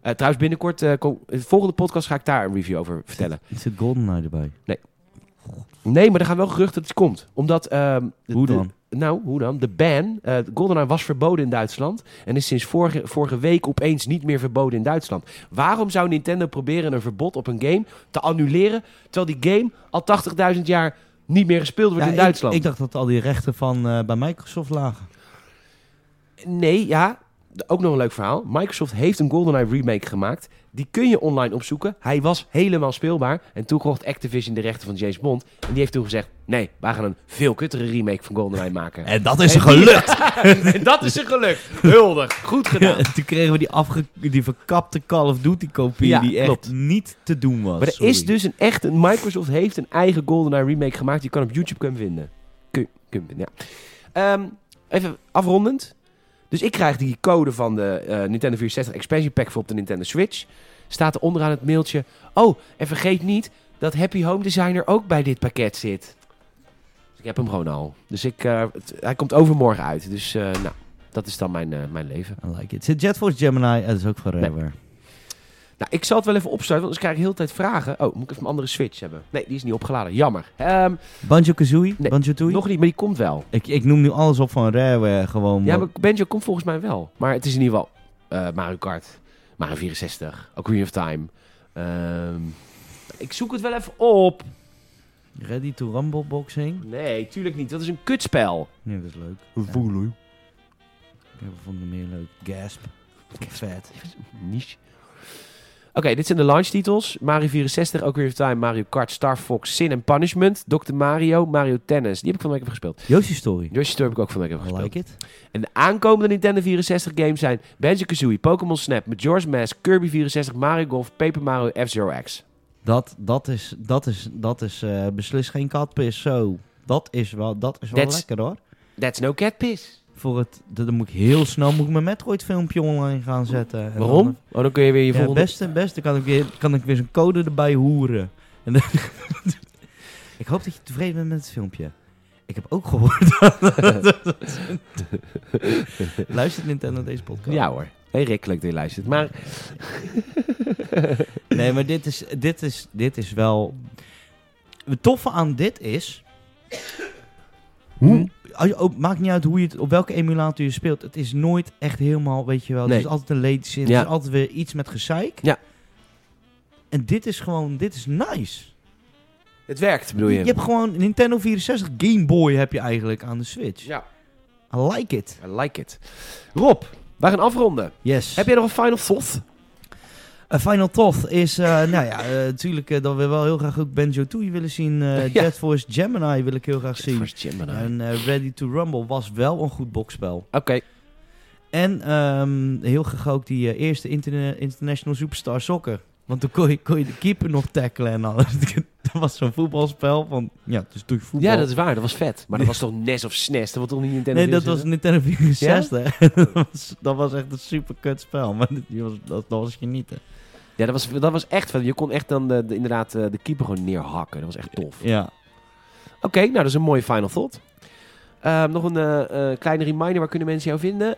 Eh, trouwens, binnenkort, eh, kom- in de volgende podcast ga ik daar een review over vertellen. Is het GoldenEye erbij? Nee, maar er gaan wel geruchten dat het komt. Omdat... ehm, de- Hoe de- dan? Nou, hoe dan? De ban. eh GoldenEye was verboden in Duitsland. En is sinds vorige, vorige week opeens niet meer verboden in Duitsland. Waarom zou Nintendo proberen een verbod op een game te annuleren. terwijl die game al 80.000 jaar niet meer gespeeld wordt Ja, in ik- Duitsland? Ik, dacht dat al die rechten van eh, bij Microsoft lagen. Nee, ja. d- Ook nog een leuk verhaal. Microsoft heeft een GoldenEye remake gemaakt. Die kun je online opzoeken. Hij was helemaal speelbaar. En toen kocht Activision de rechten van James Bond. En die heeft toen gezegd... Nee, wij gaan een veel kuttere remake van GoldenEye maken. En dat is En er die- gelukt. en dat is er gelukt. Huldig. Goed gedaan. En toen kregen we die, afge die verkapte Call of Duty kopie Ja, die echt klopt. niet te doen was. Maar er Sorry. is dus een echt... Een, Microsoft heeft een eigen GoldenEye remake gemaakt. Die kan op YouTube kunnen vinden. Kun, kun, ja. Ehm, even afrondend. Dus ik krijg die code van de eh, Nintendo 64 expansion pack voor op de Nintendo Switch. Staat er onderaan het mailtje... Oh, en vergeet niet dat Happy Home Designer ook bij dit pakket zit. Dus ik heb hem gewoon al. Dus ik, eh, het- hij komt overmorgen uit. Dus eh, nou, dat is dan mijn, eh, mijn leven. I like it. Zit Jet Force Gemini, dat is ook van Rare. Nou, ik zal het wel even opstarten, want anders krijg ik heel de tijd vragen. Oh, moet ik even een andere Switch hebben? Nee, die is niet opgeladen. Jammer. Ehm, Banjo-Kazooie? Nee, Banjo-Tooie? nog niet, maar die komt wel. Ik, ik noem nu alles op van Rareware gewoon. Ja, maar- maar Benjo komt volgens mij wel. Maar het is in ieder geval eh, Mario Kart, Mario 64, Ocarina of Time. Ehm, ik zoek het wel even op. Ready to Rumble Boxing? Nee, tuurlijk niet. Dat is een kutspel. Nee, dat is leuk. Voel u. Ik heb vond het meer leuk. Gasp. Vet. Niche. Oké, dit zijn de launchtitels. Mario 64, Ocarina of Time, Mario Kart, Star Fox, Sin and Punishment, Dr. Mario, Mario Tennis. Die heb ik van de week even gespeeld. Yoshi Story. Yoshi Story heb ik ook van de week even I gespeeld. like it. En de aankomende Nintendo 64 games zijn Banjo-Kazooie, Pokémon Snap, Majora's Mask, Kirby 64, Mario Golf, Paper Mario, F-Zero X. Dat, dat is, dat is, dat is eh, beslist geen katpis. Zo, dat is wel, dat is wel That's- lekker hoor. That's no cat piss. Voor het, dat- dan moet ik heel snel moet ik mijn Metroid filmpje online gaan zetten. En Waarom? dan- eh, Oh, dan kun je weer je ja, volgende... beste, beste. Kan ik weer, kan ik weer zo'n code erbij hoeren. En dan- ik hoop dat je tevreden bent met het filmpje. Ik heb ook gehoord dat... Luistert Nintendo deze podcast? Ja hoor. Hey Rick, leuk dat je luistert. Maar Nee, maar dit is, dit is, dit is wel... Het toffe aan dit is... Hoe? Als je, ook, maakt niet uit hoe je het, op welke emulator je speelt. Het is nooit echt helemaal, weet je wel. Nee. Het is altijd een leedzin. Ja. Het is altijd weer iets met gezeik. Ja. En dit is gewoon, dit is nice. het werkt, bedoel je? Je hebt gewoon Nintendo 64 Game Boy heb je eigenlijk aan de Switch. Ja, I like it. I like it. Rob, wij gaan afronden. Yes. Heb jij nog een final thought? Een Final Thought is, eh, nou ja, eh, natuurlijk eh, dat we wel heel graag ook Benjo Tooie willen zien. eh Ja. Jet Force Gemini wil ik heel graag zien. First Gemini. En eh, Ready to Rumble was wel een goed boksspel. Oké. En ehm, heel graag ook die eh, eerste interna- International Superstar Soccer. Want toen kon je, kon je de keeper nog tackelen en alles. dat was zo'n voetbalspel van, ja, dus doe je voetbal. Ja, dat is waar. Dat was vet. Maar dat was toch NES of SNES? Dat was toch niet Nintendo Nee, dat 64? was Nintendo 64. dat, was, dat was echt een super kut spel. Maar dit- die was, dat, dat was genieten. Ja, dat was, dat was echt vet. Je kon echt dan de, de- inderdaad eh, de keeper gewoon neerhakken. Dat was echt tof. Ja. Oké, nou dat is een mooie final thought. Ehm, nog een eh, eh, kleine reminder, waar kunnen mensen jou vinden?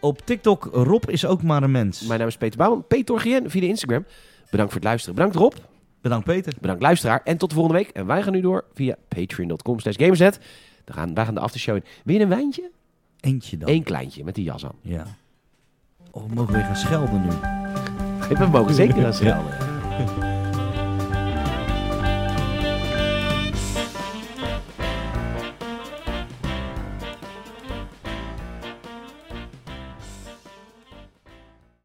Op TikTok, Rob is ook maar een mens. Mijn naam is Peter Bouwman, Peter Gien via de Instagram. Bedankt voor het luisteren. Bedankt Rob, Bedankt Peter. bedankt luisteraar. En tot de volgende week. En wij gaan nu door via patreon.com slash gamersnet. Daar gaan, wij gaan de aftershow in. Wil je een wijntje? Eentje dan. Eén kleintje met die jas aan. Ja. Oh, we mogen weer gaan schelden nu. We mogen zeker gaan schelden.